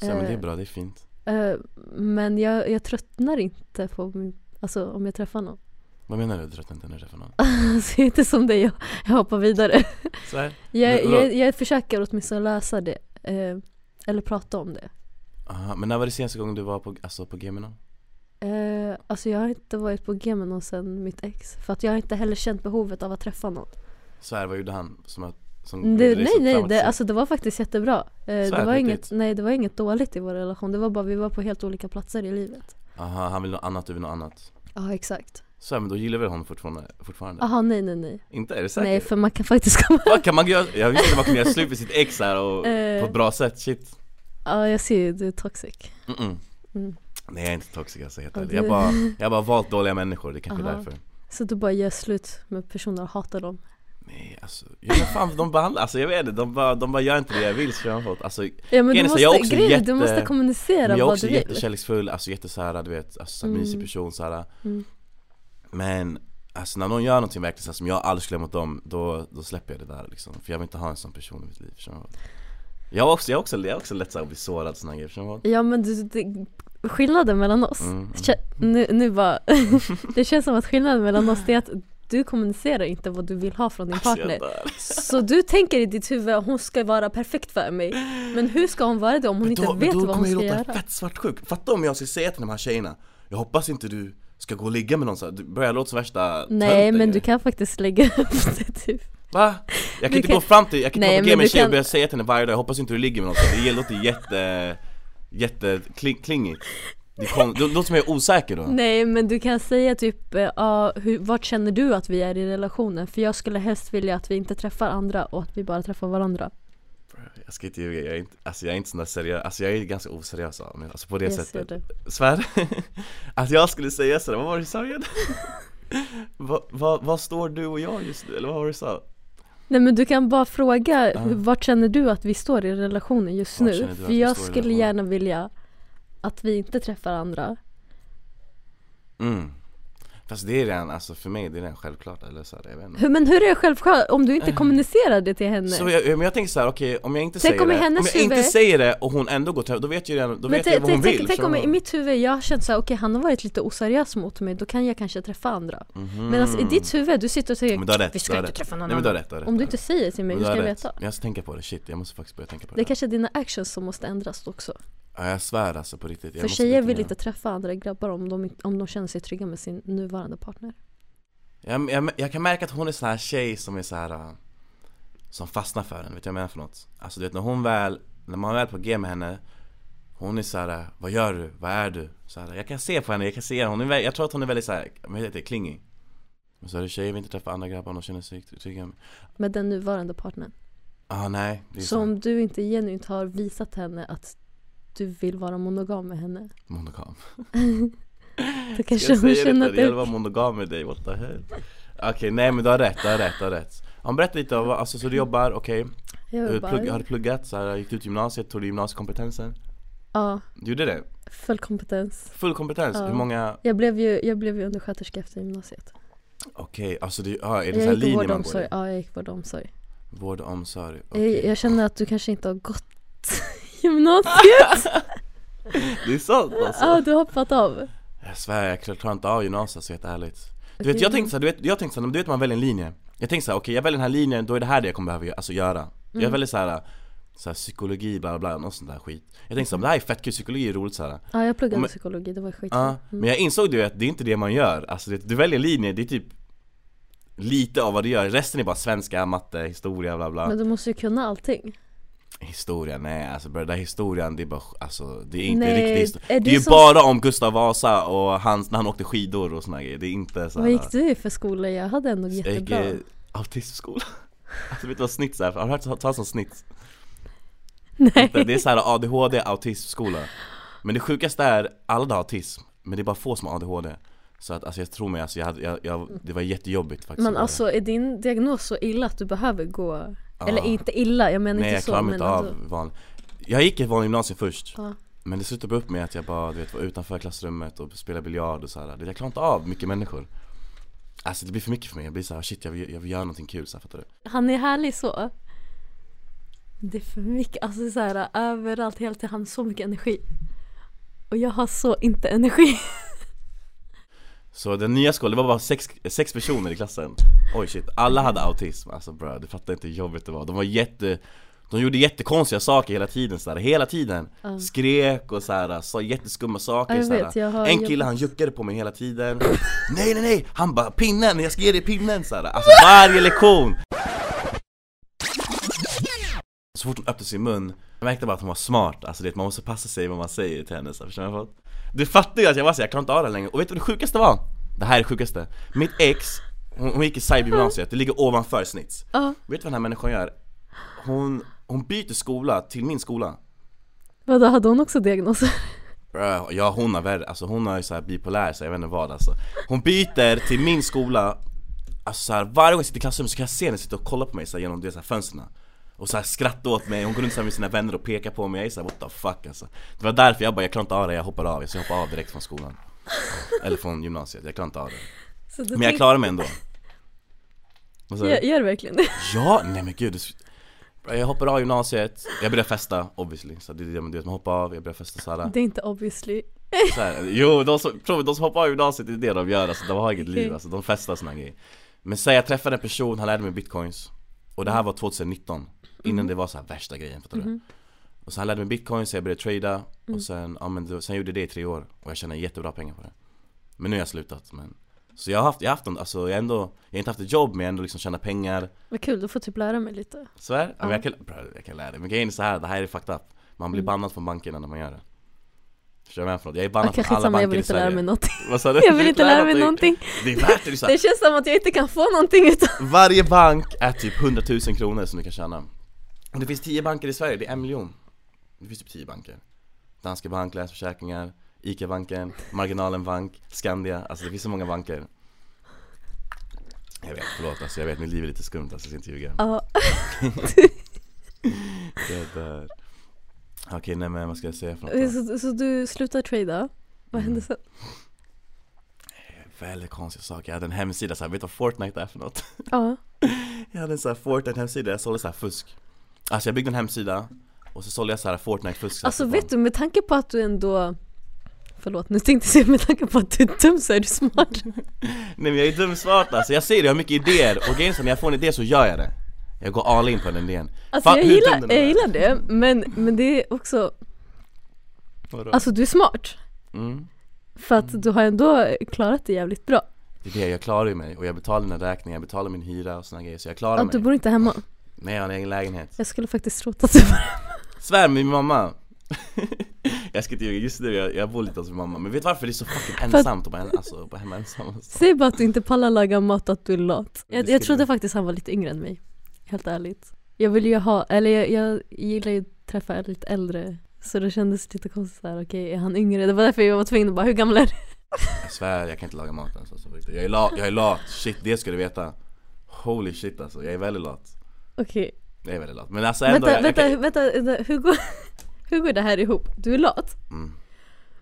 Speaker 2: Så, ja, men det är
Speaker 3: Eh.
Speaker 2: bra, det är fint.
Speaker 3: Eh, men jag, jag tröttnar inte på min, alltså om jag träffar någon.
Speaker 2: Vad menar du, du tröttnar inte när du träffar någon?
Speaker 3: Alltså jag är inte som dig, jag, jag hoppar vidare.
Speaker 2: Så här.
Speaker 3: Jag,
Speaker 2: Men vadå?
Speaker 3: jag, jag försöker åtminstone läsa det. Eh, eller prata om det.
Speaker 2: Aha, men när var det senaste gången du var på, alltså på G med någon?
Speaker 3: Eh, alltså jag har inte varit på G med någon sen mitt ex. För att jag har inte heller känt behovet av att träffa någon.
Speaker 2: Så här, vad gjorde han? Som att, som
Speaker 3: Det,
Speaker 2: gjorde dig
Speaker 3: nej
Speaker 2: så
Speaker 3: nej, det,
Speaker 2: traumatiserad?
Speaker 3: alltså det var faktiskt jättebra. Eh, det,
Speaker 2: här,
Speaker 3: var
Speaker 2: på
Speaker 3: inget,
Speaker 2: riktigt?
Speaker 3: nej, det var inget dåligt i vår relation. Det var bara vi var på helt olika platser i livet.
Speaker 2: Aha, han vill något annat, du vill något annat
Speaker 3: Ja exakt.
Speaker 2: Så här, men då gillar vi honom fortfarande? fortfarande.
Speaker 3: Jaha nej nej nej.
Speaker 2: Inte? Är det säkert?
Speaker 3: Ah. Nej för man kan faktiskt komma...
Speaker 2: Vad kan man göra? Jag visste inte man kunde göra slut med sitt ex här och
Speaker 3: Eh.
Speaker 2: på ett bra sätt, shit
Speaker 3: Ja jag ser ju, du är toxic.
Speaker 2: Mm-mm.
Speaker 3: Mm.
Speaker 2: Nej jag är inte toxic alltså, helt
Speaker 3: Ja,
Speaker 2: ärligt
Speaker 3: du-
Speaker 2: jag, bara, jag har bara valt dåliga människor, det kanske är
Speaker 3: Aha.
Speaker 2: därför
Speaker 3: Så du bara gör slut med personer och hatar dem.
Speaker 2: Nej alltså, jag vet fan de behandlar, alltså jag vet inte, de bara, de bara gör inte det jag vill så jag har fått Alltså
Speaker 3: Ja men du
Speaker 2: Grejen är så här,
Speaker 3: måste,
Speaker 2: jag är också
Speaker 3: grejen, är, du
Speaker 2: jätte-
Speaker 3: måste kommunicera
Speaker 2: Men jag är
Speaker 3: vad
Speaker 2: också
Speaker 3: du vill.
Speaker 2: jättekärleksfull, alltså jätte såhär du vet, alltså såhär, mysig person såhär
Speaker 3: Mm.
Speaker 2: Men alltså när någon gör någonting verkligen såhär, som jag aldrig skulle göra mot dem, då, då släpper jag det där liksom För jag vill inte ha en sån person i mitt liv, förstår du vad? jag har också, jag har också, jag har också lätt såhär att bli sårad såna här grejer, förstår du vad?
Speaker 3: Ja men du, det, skillnaden mellan oss,
Speaker 2: Mm, mm.
Speaker 3: kä- nu, nu bara, det känns som att skillnaden mellan oss det är att du kommunicerar inte vad du vill ha från din
Speaker 2: Alltså, jag
Speaker 3: partner.
Speaker 2: dör.
Speaker 3: Så du tänker i ditt huvud att hon ska vara perfekt för mig. Men hur ska hon vara det om hon
Speaker 2: Men
Speaker 3: inte
Speaker 2: då, men
Speaker 3: vet
Speaker 2: då
Speaker 3: vad hon
Speaker 2: kommer jag
Speaker 3: ska
Speaker 2: låta
Speaker 3: göra?
Speaker 2: fett svartsjuk, fatta om jag ska säga till de här tjejerna Jag hoppas inte du ska gå och ligga med någon såhär, du börjar låta som värsta
Speaker 3: Nej
Speaker 2: tönten
Speaker 3: men
Speaker 2: ju.
Speaker 3: du kan faktiskt lägga upp det typ.
Speaker 2: Va? Jag kan
Speaker 3: Du
Speaker 2: inte
Speaker 3: kan-
Speaker 2: gå fram till, jag kan
Speaker 3: Nej,
Speaker 2: inte gå
Speaker 3: men
Speaker 2: med en
Speaker 3: du
Speaker 2: tjej
Speaker 3: kan-
Speaker 2: och börja säga till henne varje dag, jag hoppas inte du ligger med någon så Det låter jätte, jätte kling, klingigt Det kom, det låter som jag är osäker då
Speaker 3: Nej men du kan säga typ, eh, ja, hur, vart känner du att vi är i relationen? För jag skulle helst vilja att vi inte träffar andra och att vi bara träffar varandra.
Speaker 2: Jag ska inte ljuga, jag är inte, alltså jag är inte sån där seriös, alltså jag är ganska oseriös av mig, alltså på det
Speaker 3: Jag ser
Speaker 2: sättet Svär, att jag skulle säga sådär, vad var det du sa igen? Vad va, vad står du och jag just nu, eller vad var det du sa?
Speaker 3: Nej men du kan bara fråga, hur- vart känner du att vi står i relationen just
Speaker 2: Vart
Speaker 3: nu?
Speaker 2: känner du att
Speaker 3: För
Speaker 2: vi
Speaker 3: jag
Speaker 2: står i
Speaker 3: skulle
Speaker 2: relationen?
Speaker 3: gärna vilja att vi inte träffar andra.
Speaker 2: Mm. Fast det är redan, alltså för mig det är redan självklart, eller såhär, jag vet inte
Speaker 3: Hur- Men hur är det självklart om du inte kommunicerar det till henne?
Speaker 2: Eh. Så jag, men jag tänker såhär, okej om jag inte
Speaker 3: Tänk
Speaker 2: säger
Speaker 3: om i
Speaker 2: det, om
Speaker 3: hennes
Speaker 2: jag inte
Speaker 3: huvud-
Speaker 2: säger det och hon ändå går till då vet jag redan, då
Speaker 3: men
Speaker 2: vet jag
Speaker 3: tänk,
Speaker 2: vad hon
Speaker 3: tänk,
Speaker 2: vill
Speaker 3: tänk om
Speaker 2: förstår
Speaker 3: i
Speaker 2: du?
Speaker 3: mitt huvud jag har känt såhär, okej han har varit lite oseriös mot mig, då kan jag kanske träffa andra.
Speaker 2: Mhm.
Speaker 3: Men alltså i ditt huvud, du sitter och säger
Speaker 2: Mm. Men du har rätt,
Speaker 3: vi ska
Speaker 2: du har
Speaker 3: inte
Speaker 2: rätt.
Speaker 3: träffa någon
Speaker 2: Nej, men du har
Speaker 3: annan.
Speaker 2: rätt, du har rätt.
Speaker 3: Om du inte säger till mig,
Speaker 2: Men du
Speaker 3: hur ska
Speaker 2: har
Speaker 3: jag
Speaker 2: rätt.
Speaker 3: veta?
Speaker 2: Jag ska tänka på det, shit jag måste faktiskt börja tänka på det,
Speaker 3: Det är kanske är dina actions som måste ändras också.
Speaker 2: ja, Jag svär alltså på riktigt jag
Speaker 3: För
Speaker 2: måste
Speaker 3: tjejer
Speaker 2: bli
Speaker 3: vill
Speaker 2: mer-
Speaker 3: inte träffa andra grabbar om de, om de känner sig trygga med sin nuvarande partner.
Speaker 2: jag, jag, jag kan märka att hon är sån här tjej som är så här äh, Som fastnar för en, vet du vad jag menar för något? Alltså du vet när hon väl, när man väl är på G med henne Hon är så här, äh, vad gör du? Vad är du? Så här, jag kan se på henne, jag kan se hon är, vä- jag tror att hon är väldigt såhär, vad heter det, klingig Men så är det tjejer vill inte träffa andra grabbar om de känner sig trygga med
Speaker 3: Med den nuvarande partnern.
Speaker 2: Ah nej, det är
Speaker 3: Så
Speaker 2: sant.
Speaker 3: om du inte genuint har visat henne att du vill vara monogam med henne,
Speaker 2: monogam
Speaker 3: då kanske hon
Speaker 2: Jag säger
Speaker 3: känner typ-
Speaker 2: inte,
Speaker 3: att
Speaker 2: det gäller att
Speaker 3: du...
Speaker 2: vara monogam med dig, what the hell Okej, nej men du har rätt, du har rätt, du har rätt ja, men Berätta lite, om vad- alltså, så du jobbar, okej
Speaker 3: Jag
Speaker 2: Du
Speaker 3: var
Speaker 2: plugg, har
Speaker 3: bara,
Speaker 2: du pluggat? Så här, gick du ut gymnasiet? Tog du gymnasiekompetensen?
Speaker 3: ja,
Speaker 2: Du gjorde det?
Speaker 3: full kompetens.
Speaker 2: Full kompetens?
Speaker 3: Ja.
Speaker 2: Hur många?
Speaker 3: Jag blev ju, jag blev ju undersköterska efter gymnasiet.
Speaker 2: Okej, alltså det, ah, är det så här
Speaker 3: Jag gick
Speaker 2: linje
Speaker 3: vård och
Speaker 2: man går
Speaker 3: omsorg.
Speaker 2: i?
Speaker 3: Ja, jag gick vård och omsorg.
Speaker 2: Vård och omsorg,
Speaker 3: Jag,
Speaker 2: okej.
Speaker 3: jag känner att du kanske inte har gått gymnasiet.
Speaker 2: Det är sant alltså!
Speaker 3: Ja, du har hoppat av.
Speaker 2: Jag svär, jag klar- klarar inte av gymnasiet alltså, helt ärligt Du
Speaker 3: Okej.
Speaker 2: vet, jag tänkte såhär, du vet, jag tänkte såhär, du vet man väljer en linje Jag tänkte såhär, okej jag väljer den här linjen, då är det här det jag kommer behöva gö- alltså, göra Jag
Speaker 3: Mm.
Speaker 2: väljer såhär, såhär psykologi, bla bla bla, någon sån där skit Jag tänkte såhär, men det här är fett kul, psykologi är roligt såhär
Speaker 3: Ja, jag pluggade
Speaker 2: Men-
Speaker 3: psykologi, det var skit.
Speaker 2: Ja, men jag insåg du att det är inte det man gör, alltså det, du väljer linje, det är typ Lite av vad du gör, resten är bara svenska, matte, historia, bla bla
Speaker 3: Men du måste ju kunna allting.
Speaker 2: Historia, nej alltså bror, den här historien det är bara, alltså det är inte
Speaker 3: Nej,
Speaker 2: riktig historia
Speaker 3: är
Speaker 2: Det
Speaker 3: du
Speaker 2: är ju
Speaker 3: som-
Speaker 2: bara om Gustav Vasa och hans, när han åkte skidor och såna grejer, det är inte såhär
Speaker 3: Vad gick du i för skola? Jag hade ändå
Speaker 2: Jag gick
Speaker 3: jättebra.
Speaker 2: eh, autismskola Alltså vet du vad snitt är? Har du hört talas om snitt? Det
Speaker 3: Nej.
Speaker 2: det är såhär ADHD, autismskola Men det sjukaste är, alla har autism Men det är bara få som har ADHD Så att alltså jag tror mig, alltså, jag, hade- jag, jag, det var jättejobbigt faktiskt
Speaker 3: Men alltså är din diagnos så illa att du behöver gå?
Speaker 2: Ja.
Speaker 3: Eller inte illa, jag menar
Speaker 2: Nej
Speaker 3: inte
Speaker 2: jag
Speaker 3: så
Speaker 2: klarar mig
Speaker 3: men
Speaker 2: inte
Speaker 3: alltså,
Speaker 2: av van Jag gick i ett vanligt gymnasium först
Speaker 3: Ja.
Speaker 2: Men det slutade upp med att jag bara du vet, var utanför klassrummet och spelade biljard och sådär Jag klarar inte av mycket människor Alltså det blir för mycket för mig, jag blir såhär shit jag vill, jag vill göra någonting kul så här, fattar du?
Speaker 3: Han är härlig så. Det är för mycket, alltså så här, överallt hela tiden, han har så mycket energi. Och jag har så inte energi.
Speaker 2: Så den nya skolan, det var bara sex, sex personer i klassen Oj shit, alla hade autism Alltså bro, du fattar inte hur jobbigt det var De var jätte De gjorde jättekonstiga saker hela tiden sådär, hela tiden Skrek och såhär, sa jätteskumma saker
Speaker 3: Ja, jag
Speaker 2: såhär.
Speaker 3: vet, jag har
Speaker 2: En
Speaker 3: jobbat-
Speaker 2: kille han juckade på mig hela tiden Nej nej nej! Han bara 'pinnen, jag ska ge dig pinnen' såhär Alltså varje lektion! Så fort hon öppnade sin mun, jag märkte bara att hon var smart, alltså det, man måste passa sig vad man säger till henne så här, förstår du vad jag fått? Du fattar ju att jag var så här, jag klarar inte av det här längre, och vet du vad det sjukaste var? Det här är det sjukaste, mitt ex, hon, hon gick i cybergymnasiet, det ligger ovanför snitts
Speaker 3: Ja,
Speaker 2: Vet du vad den här människan gör? Hon, hon byter skola till min skola
Speaker 3: vadå hade hon också diagnos?
Speaker 2: Bruh, Ja hon har värre, alltså hon har ju så här bipolär så jag vet inte vad alltså Hon byter till min skola Alltså så här, varje gång jag sitter i klassrummet så kan jag se henne sitta och kolla på mig så här, genom de så här fönstren Och så här skratta åt mig, hon går runt så här med sina vänner och pekar på mig, jag är så här, what the fuck alltså Det var därför jag bara, jag klarar inte av det, jag hoppar av, jag ska hoppa av direkt från skolan Eller från gymnasiet, jag klarar inte av det
Speaker 3: Så du
Speaker 2: Men jag
Speaker 3: tänk-
Speaker 2: klarar mig ändå Vad sa du?
Speaker 3: Gör, gör du verkligen det?
Speaker 2: Ja, nej men gud det s- Bruh, jag hoppar av gymnasiet, jag börjar festa obviously, så det är det man- du vet man hoppar av, jag börjar festa såhär
Speaker 3: Det är inte obviously.
Speaker 2: så här, jo, de som, tror, de som hoppar av gymnasiet det är det de gör alltså, de har inget liv
Speaker 3: Okej.
Speaker 2: alltså, de festar och såna grejer Men säg jag träffade en person, han lärde mig bitcoins Och det här var 2019 Innan
Speaker 3: Mhm.
Speaker 2: det var så här värsta grejen, fattar du? Och så han lärde mig bitcoins, så jag började trada
Speaker 3: Mm.
Speaker 2: Och sen, ja, men, då- sen gjorde jag det i tre år och jag tjänade jättebra pengar på det Men nu har jag slutat men Så jag har haft, jag har haft en, alltså jag har ändå Jag har inte haft ett jobb men jag har ändå liksom tjänat pengar
Speaker 3: Vad kul, du får typ lära mig lite.
Speaker 2: Så här, ja. men jag, kan, bra, jag kan lära dig, men grejen är så här, det här är fucked up Man
Speaker 3: Mm.
Speaker 2: blir bannad från bankerna när man gör det Förstår du vad jag menar för något? Jag är bannad
Speaker 3: Okej,
Speaker 2: från alla
Speaker 3: skitsamma,
Speaker 2: banker
Speaker 3: jag vill
Speaker 2: i
Speaker 3: inte lära
Speaker 2: Sverige
Speaker 3: mig någonting.
Speaker 2: Vad sa du?
Speaker 3: Jag
Speaker 2: Du
Speaker 3: vill inte lära mig någonting.
Speaker 2: Det är värt det, det är så här.
Speaker 3: Det känns som att jag inte kan få någonting utan...
Speaker 2: Varje bank är typ 100 000 kronor som du kan tjäna Och det finns 10 banker i Sverige, det är en miljon Det finns typ 10 banker Danske Bank, Länsförsäkringar, ICA-banken, Marginalen Bank, Skandia Alltså det finns så många banker Jag vet, förlåt alltså jag vet, mitt liv är lite skumt alltså, jag ska inte ljuga
Speaker 3: Ja,
Speaker 2: Det där. Okej nej men vad ska jag säga för något då?
Speaker 3: så, så du slutar trada.
Speaker 2: Mm.
Speaker 3: Vad hände sen?
Speaker 2: Väldigt konstiga saker, jag hade en hemsida såhär, vet du vad Fortnite är för något?
Speaker 3: Ja.
Speaker 2: Jag hade en sån här Fortnite-hemsida, jag sålde så här fusk Alltså jag byggde en hemsida och så sålde jag så här Fortnite-fusk så här
Speaker 3: Alltså
Speaker 2: för
Speaker 3: vet du, med tanke på att du ändå Förlåt, nu tänkte jag säga med tanke på att du är dum så är du smart.
Speaker 2: barn. Nej men jag är dumsmart alltså, jag säger det, jag har mycket idéer och grejen är så när jag får en idé så gör jag det Jag går all in på den idén
Speaker 3: Alltså
Speaker 2: Fuck,
Speaker 3: jag
Speaker 2: hur
Speaker 3: gillar,
Speaker 2: dum den
Speaker 3: jag
Speaker 2: är.
Speaker 3: gillar det, men, men det är också
Speaker 2: Vadå?
Speaker 3: Alltså du är smart.
Speaker 2: mm.
Speaker 3: För att du har ändå klarat det jävligt bra.
Speaker 2: Det är det, jag klarar ju mig och jag betalar mina räkningar, jag betalar min hyra och såna grejer så jag klarar
Speaker 3: Att
Speaker 2: mig
Speaker 3: du bor inte hemma.
Speaker 2: Nej jag har en egen lägenhet
Speaker 3: Jag skulle faktiskt tro att du var
Speaker 2: Svär med min mamma Jag ska inte ljuga, just nu jag, jag bor lite hos min mamma Men vet du varför det är så fucking
Speaker 3: För att-
Speaker 2: ensamt att vara en- alltså, bara hemma ensam? Alltså.
Speaker 3: Säg bara att du inte pallar laga mat och att du är lat.
Speaker 2: Det
Speaker 3: Jag,
Speaker 2: skulle-
Speaker 3: jag trodde faktiskt han var lite yngre än mig. Helt ärligt. Jag vill ju ha, eller jag, jag gillar ju att träffa lite äldre. Så det kändes lite konstigt såhär, okej är han yngre? Det var därför jag var tvungen att bara, hur gammal är du?
Speaker 2: Jag svär, jag kan inte laga mat ens alltså, på riktigt. jag, är lat, jag är lat, shit det ska du veta Holy shit alltså, jag är väldigt lat
Speaker 3: Okej,
Speaker 2: Det är väldigt lat. Men alltså ändå,
Speaker 3: Vänta,
Speaker 2: jag- jag
Speaker 3: vänta,
Speaker 2: kan-
Speaker 3: vänta, vänta, hur går, hur går det här ihop? Du är lat,
Speaker 2: Mm.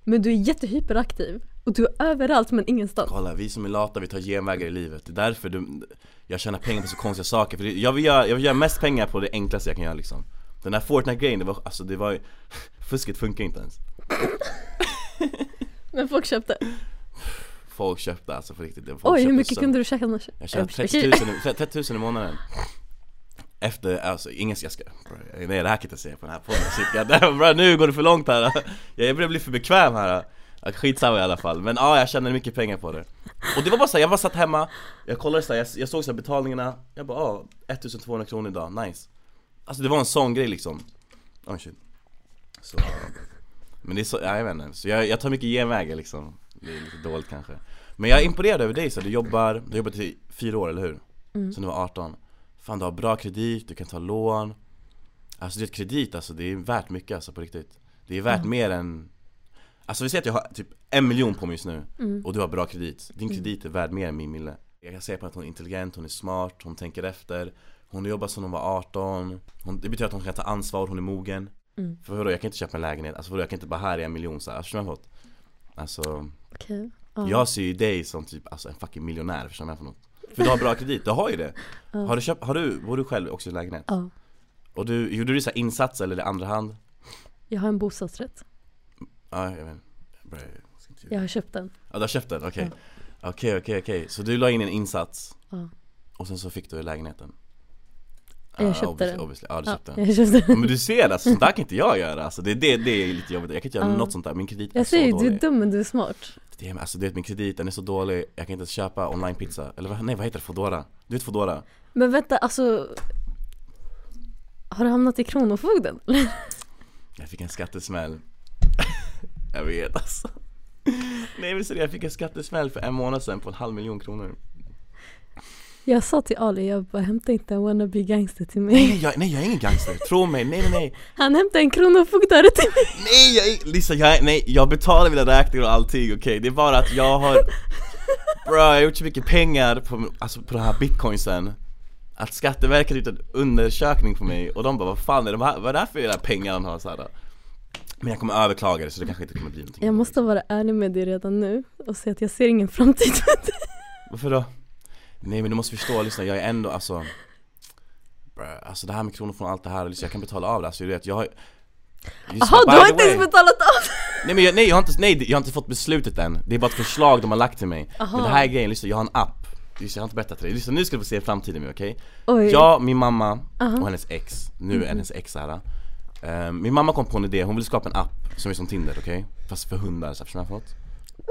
Speaker 3: men du är jättehyperaktiv och du är överallt men ingenstans.
Speaker 2: Kolla, vi som är lata vi tar genvägar i livet. Det är därför du, jag tjänar pengar på så konstiga saker. För det, jag, vill göra, jag vill göra mest pengar på det enklaste jag kan göra liksom. Den här Fortnite-grejen, det var, alltså det var ju- Fusket funkar inte ens.
Speaker 3: Men folk köpte.
Speaker 2: Folk köpte alltså på riktigt. Det var- Folk
Speaker 3: Oj, hur
Speaker 2: köpte
Speaker 3: mycket
Speaker 2: så-
Speaker 3: kunde du käka annars?
Speaker 2: Jag tjänade 30 000, i- 30 000 i månaden. Efter, alltså ingen jag ska, bro, nej det här kan jag inte säga på den här podden Shit, jag, bro, nu går det för långt här Jag börjar bli för bekväm här Ja, Skitsamma i alla fall, men ja jag tjänade mycket pengar på det Och det var bara såhär, jag var satt hemma Jag kollade såhär, jag, jag såg såhär betalningarna Jag bara ah, 1200 kronor idag, nice Alltså det var en sån grej liksom Oh shit Så Men det är så, ja, jag vet inte, så jag, jag tar mycket genvägar liksom Det är lite dåligt kanske Men jag är imponerad över dig så du jobbar, du har jobbat i fyra år eller hur?
Speaker 3: Mm.
Speaker 2: Sen du var 18 Fan du har bra kredit, du kan ta lån Alltså ditt kredit alltså, det är värt mycket alltså på riktigt Det är värt mer än Alltså vi säger att jag har typ en miljon på mig just nu
Speaker 3: Mm.
Speaker 2: och du har bra kredit. Din kredit är värd mer än min mille. Jag kan säga på att hon är intelligent, hon är smart, hon tänker efter. Hon har jobbat sedan hon var 18. Hon, det betyder att hon kan ta ansvar, hon är mogen.
Speaker 3: Mm.
Speaker 2: För vadå, jag kan inte köpa en lägenhet. Alltså vadå, jag kan inte bara här är en miljon såhär. Förstår du vad jag fått? Alltså,
Speaker 3: Okej. Ja.
Speaker 2: jag ser ju dig som typ alltså, en fucking miljonär. Förstår du vad jag för något? För du har bra kredit, du har ju det. Har du köpt, har du, bor du själv också i lägenhet?
Speaker 3: Ja.
Speaker 2: Och du, gjorde du så här insatser eller är det andra hand?
Speaker 3: Jag har en bostadsrätt.
Speaker 2: Ja, jag vet. Jag börjar- jag ska inte-
Speaker 3: Jag har köpt den.
Speaker 2: Ja du har köpt den, okej Okej okej okej, så du la in en insats
Speaker 3: Ja.
Speaker 2: och sen så fick du lägenheten?
Speaker 3: Jag
Speaker 2: Ah,
Speaker 3: köpte
Speaker 2: obviously,
Speaker 3: den.
Speaker 2: Obviously. Ja du
Speaker 3: Ja,
Speaker 2: köpte den
Speaker 3: jag köpte
Speaker 2: Ja,
Speaker 3: den.
Speaker 2: Men du ser alltså, sånt där kan inte jag göra alltså, det, är det, det är lite jobbigt, jag kan inte göra
Speaker 3: Ja.
Speaker 2: något sånt där, min kredit är
Speaker 3: Jag säger ju,
Speaker 2: så
Speaker 3: du
Speaker 2: dålig
Speaker 3: är dum men du är smart.
Speaker 2: det är, Alltså du vet min kredit, den är så dålig, jag kan inte ens köpa online pizza Eller vad, nej vad heter det? Foodora? Du vet Foodora?
Speaker 3: Men vänta, alltså. Har du hamnat i Kronofogden?
Speaker 2: Jag fick en skattesmäll Jag vet alltså Nej men seriöst, jag fick en skattesmäll för en månad sedan på en halv miljon kronor
Speaker 3: Jag sa till Ali, jag bara hämta inte en wannabe gangster till mig.
Speaker 2: Nej jag, nej, jag är ingen gangster, tro mig, nej nej nej
Speaker 3: Han hämtade en kronofogdare till mig.
Speaker 2: Nej, jag, Lisa, jag, nej, jag betalar mina räkningar och allting, okej? Det är bara att jag har... Bro, jag har gjort så mycket pengar på, alltså, på de här bitcoinsen Att Skatteverket har gjort en undersökning på mig och de bara vad fan är de här, vad är det här för jävla pengar han har så här? Men jag kommer överklaga det så det kanske inte kommer bli någonting
Speaker 3: Jag måste vara ärlig med dig redan nu och säga att jag ser ingen framtid med dig.
Speaker 2: Varför då? Nej men du måste förstå, lyssna jag är ändå alltså bro, Alltså det här med kronofogden och allt det här, liksom, jag kan betala av det, alltså du vet jag har Lyssna,
Speaker 3: Jaha,
Speaker 2: by
Speaker 3: du har
Speaker 2: the
Speaker 3: inte
Speaker 2: way-
Speaker 3: ens betalat av!
Speaker 2: Nej men jag, nej, jag, har inte, nej, jag har inte fått beslutet än, det är bara ett förslag de har lagt till mig
Speaker 3: Aha.
Speaker 2: Men det här är grejen, lyssna jag har en app Lyssna jag har inte berättat för dig, lyssna nu ska du få se framtiden med okej?
Speaker 3: Oj.
Speaker 2: Jag, min mamma
Speaker 3: Aha.
Speaker 2: och hennes ex, nu är hennes ex här eh, Min mamma kom på en idé, hon ville skapa en app som är som Tinder okej? Fast för hundar, så här, förstår du vad jag har fått?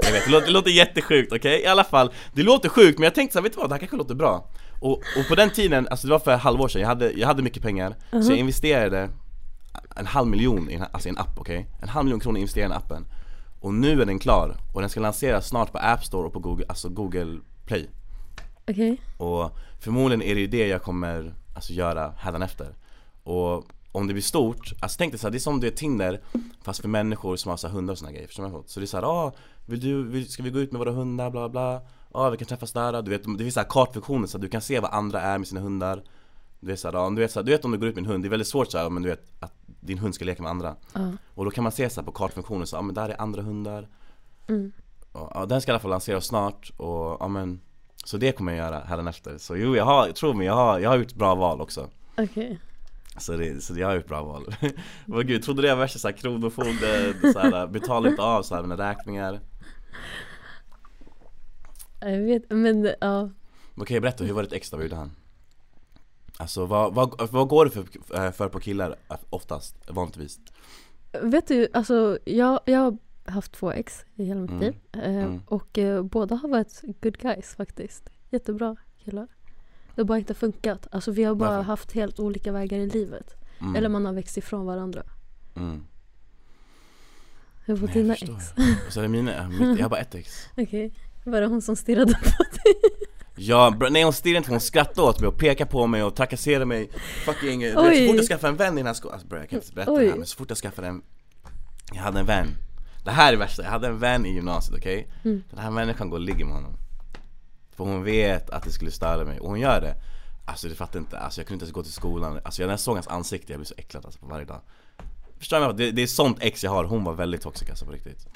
Speaker 2: Jag vet, det låter, det låter jättesjukt okej? I alla fall, det låter sjukt men jag tänkte såhär, vet du vad? Det här kanske låter bra Och, och på den tiden, alltså det var för ett halvår sedan, jag hade, jag hade mycket pengar Så jag investerade en halv miljon i en, alltså i en app, okej? En halv miljon kronor investerade i den appen Och nu är den klar och den ska lanseras snart på App Store och på Google, alltså Google Play
Speaker 3: Okej,
Speaker 2: och förmodligen är det ju det jag kommer alltså, göra hädanefter. Och om det blir stort, alltså tänk dig såhär, det är som du är Tinder fast för människor som har så här, hundar och såna grejer, förstår du vad jag menar? Så det är såhär, ah, vill du, vill, ska vi gå ut med våra hundar, bla bla bla? Ja, ah, vi kan träffas där, du vet, det finns så här kartfunktioner så att du kan se vad andra är med sina hundar Du vet såhär, ah, om du vet, så här, du vet om du går ut med en hund, det är väldigt svårt såhär, men du vet att din hund ska leka med andra
Speaker 3: Ja.
Speaker 2: Och då kan man se såhär på kartfunktionen, så, ah, men där är andra hundar
Speaker 3: Mm.
Speaker 2: och, ja, den ska i alla fall lanseras snart och ja men Så det kommer jag göra hädanefter, så jo jag har, tro mig, jag har, jag har gjort bra val också
Speaker 3: okej.
Speaker 2: Så det, så det, jag har gjort bra val Vad gud, trodde det var värsta såhär kronofogde, såhär betala inte av såhär mina räkningar
Speaker 3: Jag vet, men ja.
Speaker 2: Okej berätta, hur var ditt ex då, vad gjorde han? Alltså vad, vad, vad går det för, för på killar eh, oftast, vanligtvis?
Speaker 3: Vet du, alltså jag, jag har haft två ex i hela mitt
Speaker 2: Mm.
Speaker 3: liv. Eh,
Speaker 2: Mm.
Speaker 3: Och eh, båda har varit good guys faktiskt. Jättebra killar. Det har bara inte funkat. Alltså vi har bara
Speaker 2: Varför?
Speaker 3: haft helt olika vägar i livet.
Speaker 2: Mm,
Speaker 3: Eller man har växt ifrån varandra.
Speaker 2: mm.
Speaker 3: Hur var
Speaker 2: Nej,
Speaker 3: dina
Speaker 2: jag
Speaker 3: ex?
Speaker 2: förstår. Så är det mina, mitt, jag har bara ett ex
Speaker 3: Okej. Var det hon som stirrade på dig?
Speaker 2: Ja, bra, nej hon stirrade inte på mig, hon skrattade åt mig och pekade på mig och trakasserade mig Fucking, du vet, så
Speaker 3: Oj.
Speaker 2: fort jag skaffade en vän i den här skolan, alltså, bro, jag kan inte berätta
Speaker 3: Oj.
Speaker 2: det här men så fort jag skaffade en Jag hade en vän Det här är det värsta, jag hade en vän i gymnasiet, okej?
Speaker 3: Mm.
Speaker 2: Den här människan går och ligger med honom För hon vet att det skulle störa mig och hon gör det Alltså du fattar inte, alltså, jag kunde inte ens gå till skolan Alltså jag- när jag såg hans ansikte, jag blev så äcklad alltså, på varje dag Förstår mig det, det är sånt ex jag har, hon var väldigt toxic alltså på riktigt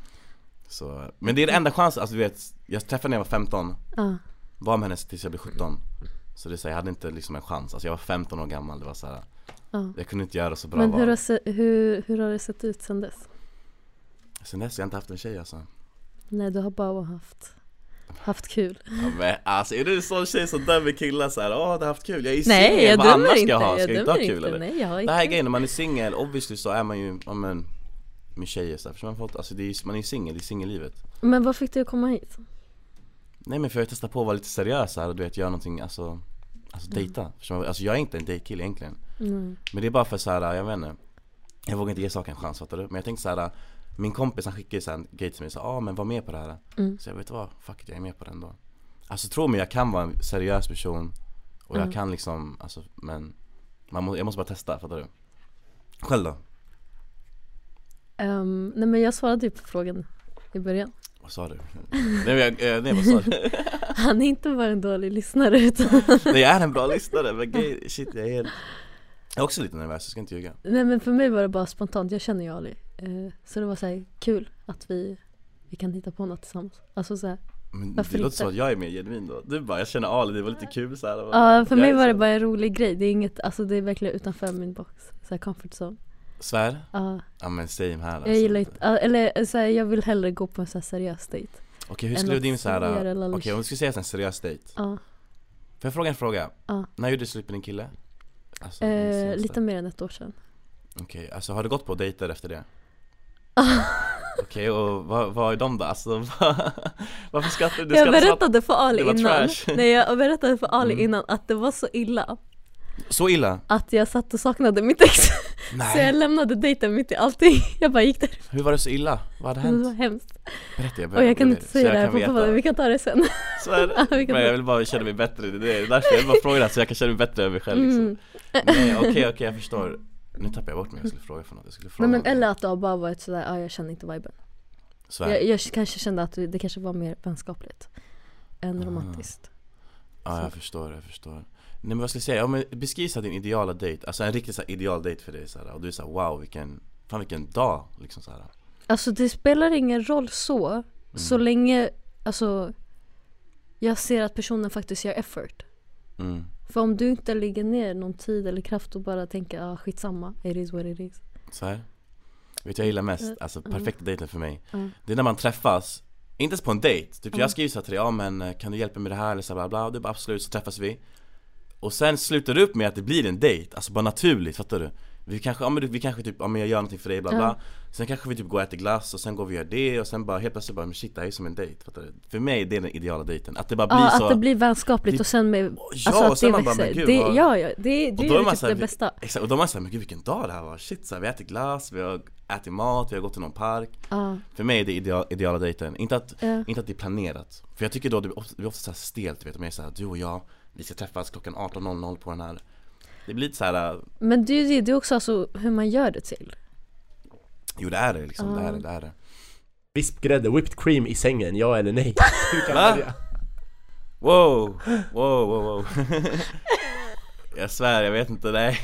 Speaker 2: så, Men det är den enda chansen, alltså du vet Jag träffade henne när jag var 15
Speaker 3: Ja.
Speaker 2: Var med henne tills jag blev 17 Så det är så här, jag hade inte liksom en chans, alltså jag var 15 år gammal, det var så här,
Speaker 3: Ja.
Speaker 2: Jag kunde inte göra så bra
Speaker 3: Men hur
Speaker 2: val
Speaker 3: har, se, hur, hur har det sett ut sen dess?
Speaker 2: Sen dess har jag inte haft en tjej alltså
Speaker 3: Nej, du har bara haft, haft kul.
Speaker 2: ja, men, Alltså är du en sån tjej som dömer killar såhär, åh du har haft kul, jag är ju
Speaker 3: Nej,
Speaker 2: singel,
Speaker 3: jag
Speaker 2: vad
Speaker 3: dömer
Speaker 2: annars ska
Speaker 3: inte.
Speaker 2: jag ha? Ska
Speaker 3: jag
Speaker 2: jag inte
Speaker 3: dömer
Speaker 2: ha kul
Speaker 3: inte.
Speaker 2: eller?
Speaker 3: Nej, jag har
Speaker 2: Det här är
Speaker 3: inte.
Speaker 2: grejen, när man är singel, obviously så är man ju, ja men Med tjejer så här, förstår man folk, alltså det är, ju- man är ju singel, det är singellivet
Speaker 3: Men vad fick du att komma hit?
Speaker 2: Nej men för jag testar på att vara lite seriös här och du vet göra någonting, alltså Alltså dejta, förstår man? Alltså jag är inte en dejtkille egentligen
Speaker 3: Mm.
Speaker 2: Men det är bara för så här, jag vet inte Jag vågar inte ge saker en chans fattar du? Men jag tänkte så här. Min kompis han skickade ju så här en grej till mig och sa ah, men var med på det här
Speaker 3: Mm.
Speaker 2: Så jag vet vad, fuck it, jag är med på det ändå Alltså tro mig jag kan vara en seriös person Och jag
Speaker 3: Mm.
Speaker 2: kan liksom, alltså men man må, Jag måste bara testa, fattar du? Själv då?
Speaker 3: Ehm, nej, men jag svarade ju på frågan i början.
Speaker 2: Vad sa du? nej, men jag, eh, nej vad sa du?
Speaker 3: Han är inte bara en dålig lyssnare utan
Speaker 2: nej jag är en bra lyssnare men grej, shit jag är helt Jag är också lite nervös, jag ska inte ljuga
Speaker 3: Nej men för mig var det bara spontant, jag känner ju Ali. Eh, så det var så här kul att vi, vi kan hitta på något tillsammans. Alltså så här,
Speaker 2: Men
Speaker 3: Varför
Speaker 2: det låter
Speaker 3: inte?
Speaker 2: som att jag är mer genuin då Du bara, jag känner Ali, det var lite kul så här.
Speaker 3: ja för
Speaker 2: Jag
Speaker 3: mig
Speaker 2: är
Speaker 3: var det
Speaker 2: så-
Speaker 3: bara en rolig grej. Det är inget, alltså det är verkligen utanför min box. Så här comfort zone.
Speaker 2: Svär?
Speaker 3: Ja,
Speaker 2: Ja men same här alltså.
Speaker 3: jag gillar inte, ja, eller så här, jag vill hellre gå på en så här seriös dejt.
Speaker 2: Okej hur
Speaker 3: än
Speaker 2: skulle
Speaker 3: att
Speaker 2: din såhär,
Speaker 3: servera
Speaker 2: okej
Speaker 3: lunch.
Speaker 2: om vi skulle säga en seriös dejt
Speaker 3: Ja, eh,
Speaker 2: Får jag fråga en fråga?
Speaker 3: Ja.
Speaker 2: När gjorde du slut med din kille? Alltså, den
Speaker 3: eh,
Speaker 2: senaste.
Speaker 3: lite mer än ett år sedan.
Speaker 2: Okej, alltså har du gått på dejter efter det? Okej och vad, vad är de då? Alltså vad- varför skrattar du? du?
Speaker 3: jag
Speaker 2: skrattar så-
Speaker 3: berättade för Ali
Speaker 2: det var
Speaker 3: innan.
Speaker 2: trash.
Speaker 3: Nej jag berättade för Ali
Speaker 2: Mm.
Speaker 3: innan att det var så illa
Speaker 2: Så illa?
Speaker 3: att jag satt och saknade mitt ex. Så jag
Speaker 2: Nej,
Speaker 3: lämnade dejten mitt i allting. Jag bara gick där.
Speaker 2: hur var det så illa? Vad hade
Speaker 3: Det var
Speaker 2: hänt?
Speaker 3: hemskt.
Speaker 2: Berätta jag
Speaker 3: Och jag kan
Speaker 2: berättar
Speaker 3: inte
Speaker 2: så
Speaker 3: säga det här
Speaker 2: kan
Speaker 3: på
Speaker 2: veta.
Speaker 3: podden, vi kan ta det sen.
Speaker 2: Så är det.
Speaker 3: Vi kan
Speaker 2: Men
Speaker 3: ta-
Speaker 2: jag vill bara känna mig bättre, det är det. Det är därför jag vill bara fråga det här så jag kan känna mig bättre över mig själv liksom.
Speaker 3: Mm.
Speaker 2: Nej okej okej jag förstår Nu tappade jag bort mig, jag skulle fråga för något, jag skulle fråga
Speaker 3: Nej men
Speaker 2: någonting.
Speaker 3: eller att det har bara varit sådär, ja jag känner inte viben.
Speaker 2: Svär.
Speaker 3: Jag, jag kanske kände att det kanske var mer vänskapligt än
Speaker 2: Ah.
Speaker 3: romantiskt.
Speaker 2: Ja jag förstår, jag förstår Nej men vad ska jag säga, ja, men beskriv så här din ideala dejt, alltså en riktigt så här ideal dejt för dig så här, och du är såhär wow vilken, fan vilken dag liksom så här.
Speaker 3: Alltså det spelar ingen roll så, så
Speaker 2: Mm.
Speaker 3: länge alltså jag ser att personen faktiskt gör effort.
Speaker 2: Mm.
Speaker 3: För om du inte lägger ner någon tid eller kraft och bara tänker ah, skitsamma, it is what it is.
Speaker 2: Så här. Vet du vad jag gillar mest? Alltså
Speaker 3: Mm.
Speaker 2: perfekta dejten för mig
Speaker 3: Mm.
Speaker 2: Det är när man träffas, inte ens på en dejt, typ jag skriver såhär till dig, ja men eh, kan du hjälpa mig med det här eller så här, bla bla, och du bara absolut så träffas vi Och sen slutar det upp med att det blir en dejt, alltså bara naturligt, fattar du? Vi kanske, ja men du- vi kanske typ, ja men jag gör någonting för dig bla bla
Speaker 3: Ja.
Speaker 2: Sen kanske vi typ går och äter glass och sen går vi och gör det och sen bara helt plötsligt bara, men shit det här är som en dejt, fattar du? För mig det är den ideala dejten, att det bara blir
Speaker 3: Ja,
Speaker 2: så
Speaker 3: att det blir vänskapligt
Speaker 2: Det-
Speaker 3: och sen med,
Speaker 2: Ja,
Speaker 3: alltså
Speaker 2: och
Speaker 3: att
Speaker 2: sen
Speaker 3: det
Speaker 2: man bara, men
Speaker 3: växer.
Speaker 2: gud,
Speaker 3: det,
Speaker 2: vad-
Speaker 3: ja, ja, det, det
Speaker 2: då
Speaker 3: är
Speaker 2: är
Speaker 3: ju
Speaker 2: man
Speaker 3: typ
Speaker 2: så här,
Speaker 3: det
Speaker 2: vi-
Speaker 3: bästa.
Speaker 2: Exakt, och då är man såhär, men gud vilken dag det här var, shit så här, vi har ätit glass, vi har ätit mat, vi har gått till någon park
Speaker 3: Ja.
Speaker 2: För mig är det idea- ideala dejten, inte att,
Speaker 3: Ja.
Speaker 2: inte att det är planerat För jag tycker då det blir ofta, det blir ofta så här stelt du vet, om jag är såhär du och jag, vi ska träffas klockan 18.00 på den här Det blir lite äh, såhär,
Speaker 3: Men det är ju det, det är också alltså hur man gör det till.
Speaker 2: jo det är det liksom, det är
Speaker 3: Ja.
Speaker 2: det, det är det
Speaker 1: Vispgrädde, whipped cream i sängen, ja eller nej? Hur kan
Speaker 2: Va?
Speaker 1: man välja?
Speaker 2: Wow, wow, wow, wow Jag svär, jag vet inte, nej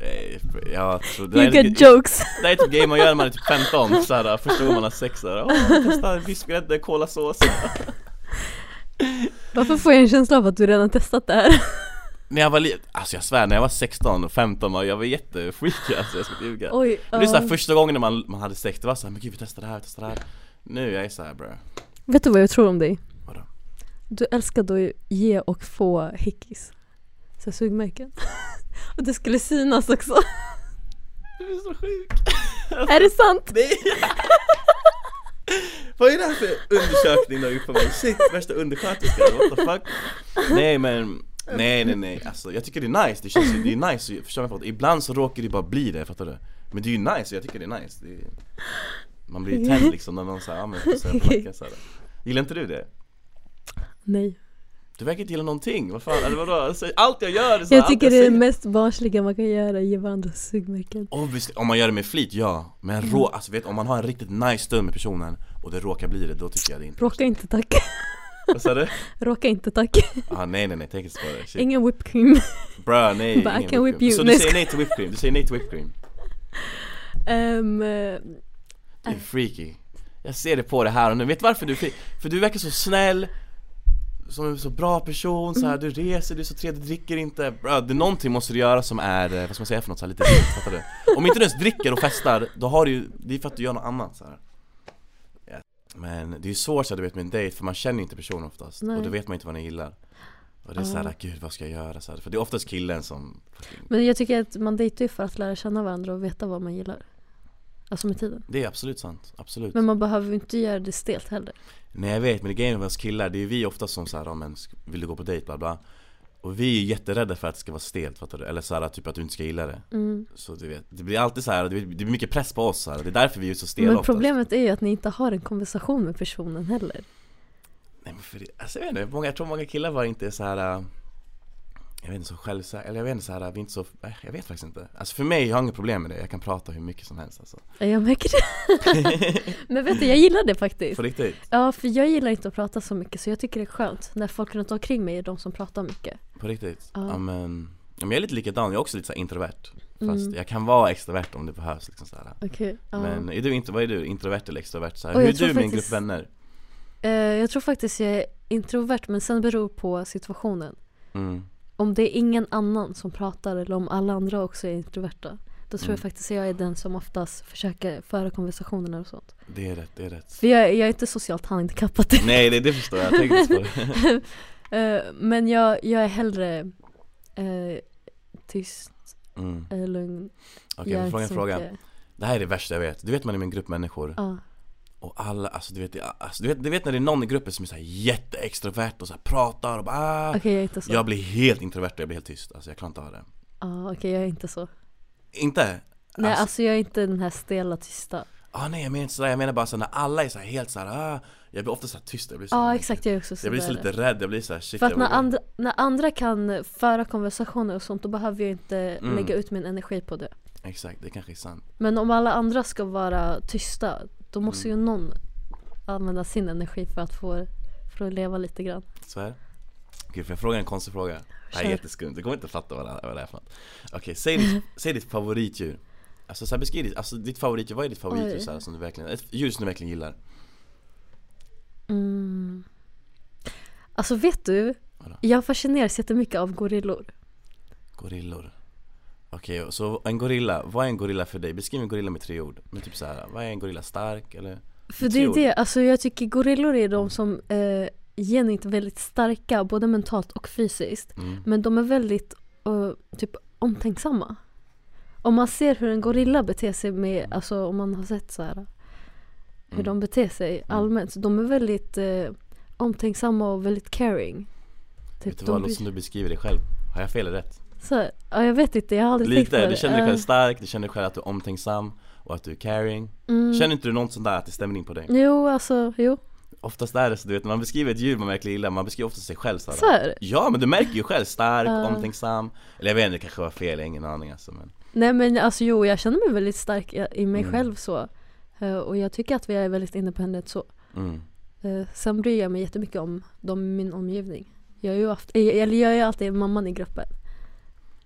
Speaker 2: Nej, Jag tror, det, där
Speaker 3: You
Speaker 2: är,
Speaker 3: get
Speaker 2: det,
Speaker 3: jokes!
Speaker 2: det är typ game man gör när man är typ 15, såhär, första gången man har sex såhär, åh, testa vispgrädde, kolasås
Speaker 3: Varför får jag en känsla av att du redan testat det här?
Speaker 2: När jag var liten, alltså jag svär när jag var 16 och 15 man, jag var jättefreaky alltså jag ska inte ljuga
Speaker 3: Oj,
Speaker 2: Men Det är såhär
Speaker 3: ja.
Speaker 2: första gången när man, man hade sex, det var såhär men gud vi testar det här, vi testar det här Nu jag är såhär bro,
Speaker 3: Vet du vad jag tror om dig?
Speaker 2: vadå?
Speaker 3: Du älskar då ju ge och få hickis. Så här sugmärken. Och det skulle synas också.
Speaker 2: Du är så sjuk!
Speaker 3: Är det sant?
Speaker 2: Nej! Vad är det här för undersökning du har gjort på mig? Shit, värsta undersköterskan, what the fuck? Nej men, nej nej nej alltså jag tycker det är nice, det känns ju, det är nice, att- förstår mig folk? Ibland så råkar det bara bli det, fattar du? Men det är ju nice, jag tycker det är nice det är... Man blir ju tänd liksom när någon säger ja men jag får säga på nacken så här. Gillar inte du det?
Speaker 3: Nej.
Speaker 2: Du verkar inte gilla någonting, vad fan, eller vadå? Alltså, Allt jag gör är så här,
Speaker 3: Jag
Speaker 2: allt
Speaker 3: tycker det är
Speaker 2: säger-
Speaker 3: det mest barnsliga man kan göra, ge varandra sugmärken.
Speaker 2: Obviously, om man gör det med flit, ja.
Speaker 3: Mm.
Speaker 2: Men rå, alltså vet om man har en riktigt nice stund med personen och det råkar bli det, då tycker jag det inte
Speaker 3: Råka inte tacka.
Speaker 2: Vad sa du?
Speaker 3: Råka inte tack.
Speaker 2: Ah, nej nej nej, tänk inte på det Shit.
Speaker 3: Ingen whipped cream.
Speaker 2: Bruh nej,
Speaker 3: Bara,
Speaker 2: ingen
Speaker 3: I can whip
Speaker 2: cream.
Speaker 3: you.
Speaker 2: Så
Speaker 3: Nej,
Speaker 2: du säger nej till whipped cream? Du säger nej till whipped cream?
Speaker 3: Ehm, eh,
Speaker 2: Du är freaky Jag ser det på det här och nu, vet du varför du är freaky? För du verkar så snäll Som en så bra person, så här,
Speaker 3: Mm.
Speaker 2: du reser, du är så trevlig, du dricker inte Bra, det någonting måste du göra som är, eh, vad ska man säga för något så här, lite dumt, fattar
Speaker 3: eh.
Speaker 2: du? Om inte du ens dricker och festar, då har du ju, det är för att du gör något annat så här. Ja. Men det är ju svårt så här, du vet med en dejt, för man känner ju inte personen oftast
Speaker 3: Nej.
Speaker 2: Och då vet man inte vad den gillar och det är såhär, gud vad ska jag göra? Så här, för det är oftast killen som
Speaker 3: men jag tycker att man dejtar ju för att lära känna varandra och veta vad man gillar. Alltså med tiden.
Speaker 2: Det är absolut sant, absolut
Speaker 3: Men man behöver ju inte göra det stelt heller.
Speaker 2: Nej jag vet, men det är grejen med oss killar, det är vi ofta som såhär, ja men sk- vill du gå på dejt bla bla Och vi är ju jätterädda för att det ska vara stelt fattar du? Eller såhär typ att du inte ska gilla det
Speaker 3: Mm.
Speaker 2: Så du vet, det blir alltid såhär, det blir det blir mycket press på oss såhär, det är därför vi är så stela
Speaker 3: Men
Speaker 2: oftast.
Speaker 3: problemet är ju att ni inte har en konversation med personen heller.
Speaker 2: Nej men för det, alltså jag vet inte, många, jag tror många killar bara inte är såhär äh, Jag vet inte, så självsäkra, eller jag vet inte såhär, vi är inte så, nej, jag vet faktiskt inte Alltså för mig, jag har inga problem med det, jag kan prata hur mycket som helst alltså
Speaker 3: Ja, Jag märker det. Men vet du, jag gillar det faktiskt.
Speaker 2: På riktigt,
Speaker 3: Ja, för jag gillar inte att prata så mycket så jag tycker det är skönt när folk runt omkring mig är de som pratar mycket.
Speaker 2: på riktigt
Speaker 3: Ja.
Speaker 2: ja. men, ja, men jag är lite likadan, jag är också lite såhär introvert Fast
Speaker 3: Mm.
Speaker 2: jag kan vara extrovert om det behövs liksom såhär
Speaker 3: Okej. ja.
Speaker 2: Men är du inte, vad är du? Introvert eller extrovert? Så här,
Speaker 3: Oj,
Speaker 2: hur är
Speaker 3: jag tror
Speaker 2: du med en
Speaker 3: faktiskt-
Speaker 2: grupp vänner?
Speaker 3: Eh, jag tror faktiskt jag är introvert men sen beror på situationen.
Speaker 2: Mm.
Speaker 3: Om det är ingen annan som pratar eller om alla andra också är introverta. Då tror
Speaker 2: Mm.
Speaker 3: jag faktiskt jag är den som oftast försöker föra konversationer och sånt.
Speaker 2: Det är rätt, det är rätt
Speaker 3: För jag, jag är inte socialt handikappad.
Speaker 2: Nej det, det förstår jag, jag tänkte inte på det
Speaker 3: Eh, men jag, jag är hellre eh, tyst,
Speaker 2: mm.
Speaker 3: eh, lugn.
Speaker 2: Okej, okay,
Speaker 3: gör inte
Speaker 2: fråga en
Speaker 3: så
Speaker 2: fråga
Speaker 3: mycket.
Speaker 2: Det här är det värsta jag vet, du vet man är med en grupp människor
Speaker 3: Ja.
Speaker 2: och alla, alltså du vet, det- alltså, du vet, du vet när det är någon i gruppen som är såhär jätteextrovert och så här pratar och bara ah.
Speaker 3: Okej, jag är inte så.
Speaker 2: Jag blir helt introvert och jag blir helt tyst, alltså jag klarar inte av det
Speaker 3: Ja, okej, jag är inte så.
Speaker 2: Inte?
Speaker 3: Nej,
Speaker 2: Alltså-
Speaker 3: alltså, jag är inte den här stela tysta.
Speaker 2: Ah nej jag menar inte sådär, jag menar bara såhär när alla är såhär helt såhär ah. Jag blir ofta såhär tyst, jag blir så
Speaker 3: Ja,
Speaker 2: här-
Speaker 3: exakt, jag är också så
Speaker 2: Jag blir
Speaker 3: där.
Speaker 2: så lite rädd, jag blir såhär shit
Speaker 3: För att
Speaker 2: jag
Speaker 3: när
Speaker 2: vågar-
Speaker 3: andra, när andra kan föra konversationer och sånt då behöver jag inte
Speaker 2: Mm.
Speaker 3: lägga ut min energi på det.
Speaker 2: Exakt, det kanske är sant
Speaker 3: Men om alla andra ska vara tysta då måste
Speaker 2: Mm.
Speaker 3: ju någon använda sin energi för att få för att leva lite grann.
Speaker 2: Så här. Gud, får jag fråga en konstig fråga? Det här är
Speaker 3: Kör.
Speaker 2: jätteskumt, du kommer inte fatta vad det, vad det är för något Okej, säg, ditt, säg ditt favoritdjur Alltså så här, beskriv ditt, alltså ditt favoritdjur, vad är ditt favoritdjur
Speaker 3: Oj.
Speaker 2: så här, som du verkligen, ett djur som du verkligen gillar?
Speaker 3: Mm. Alltså vet du?
Speaker 2: Vadå?
Speaker 3: Jag fascineras jättemycket av gorillor.
Speaker 2: Gorillor Okej, och så en gorilla, vad är en gorilla för dig? Beskriv en gorilla med tre ord Men typ så här, vad är en gorilla stark eller?
Speaker 3: För det är
Speaker 2: Tror.
Speaker 3: det, alltså jag tycker gorillor är de som eh, genuint är väldigt starka både mentalt och fysiskt.
Speaker 2: Mm.
Speaker 3: Men de är väldigt eh, typ omtänksamma. Om man ser hur en gorilla beter sig med, alltså om man har sett så här hur
Speaker 2: Mm.
Speaker 3: de beter sig allmänt. Så de är väldigt eh, omtänksamma och väldigt caring.
Speaker 2: Vet du
Speaker 3: typ de
Speaker 2: vad, det
Speaker 3: bryr-
Speaker 2: låter som du beskriver dig själv Har jag fel eller rätt?
Speaker 3: så här, ja, jag vet inte, jag har aldrig tänkt på
Speaker 2: Lite,
Speaker 3: det.
Speaker 2: du känner dig
Speaker 3: Eh,
Speaker 2: själv stark, du känner dig själv att du är omtänksam och att du är caring
Speaker 3: mm,
Speaker 2: Känner inte du något sånt där att det stämmer in på dig?
Speaker 3: Jo, alltså jo.
Speaker 2: Oftast är det så du vet, när man beskriver ett djur man verkligen gillar, man beskriver ofta sig själv såhär
Speaker 3: Så här.
Speaker 2: Ja men du märker ju själv, stark,
Speaker 3: Ja.
Speaker 2: omtänksam Eller jag vet inte, det kanske var fel, jag har ingen aning alltså men
Speaker 3: Nej men alltså jo, jag känner mig väldigt stark i- i mig
Speaker 2: Mm.
Speaker 3: själv så. Eh, Och jag tycker att vi är väldigt independent så.
Speaker 2: mm.
Speaker 3: Eh, Sen bryr jag mig jättemycket om de i min omgivning. Jag är ju, haft, eh, eller jag är ju alltid mamman i gruppen.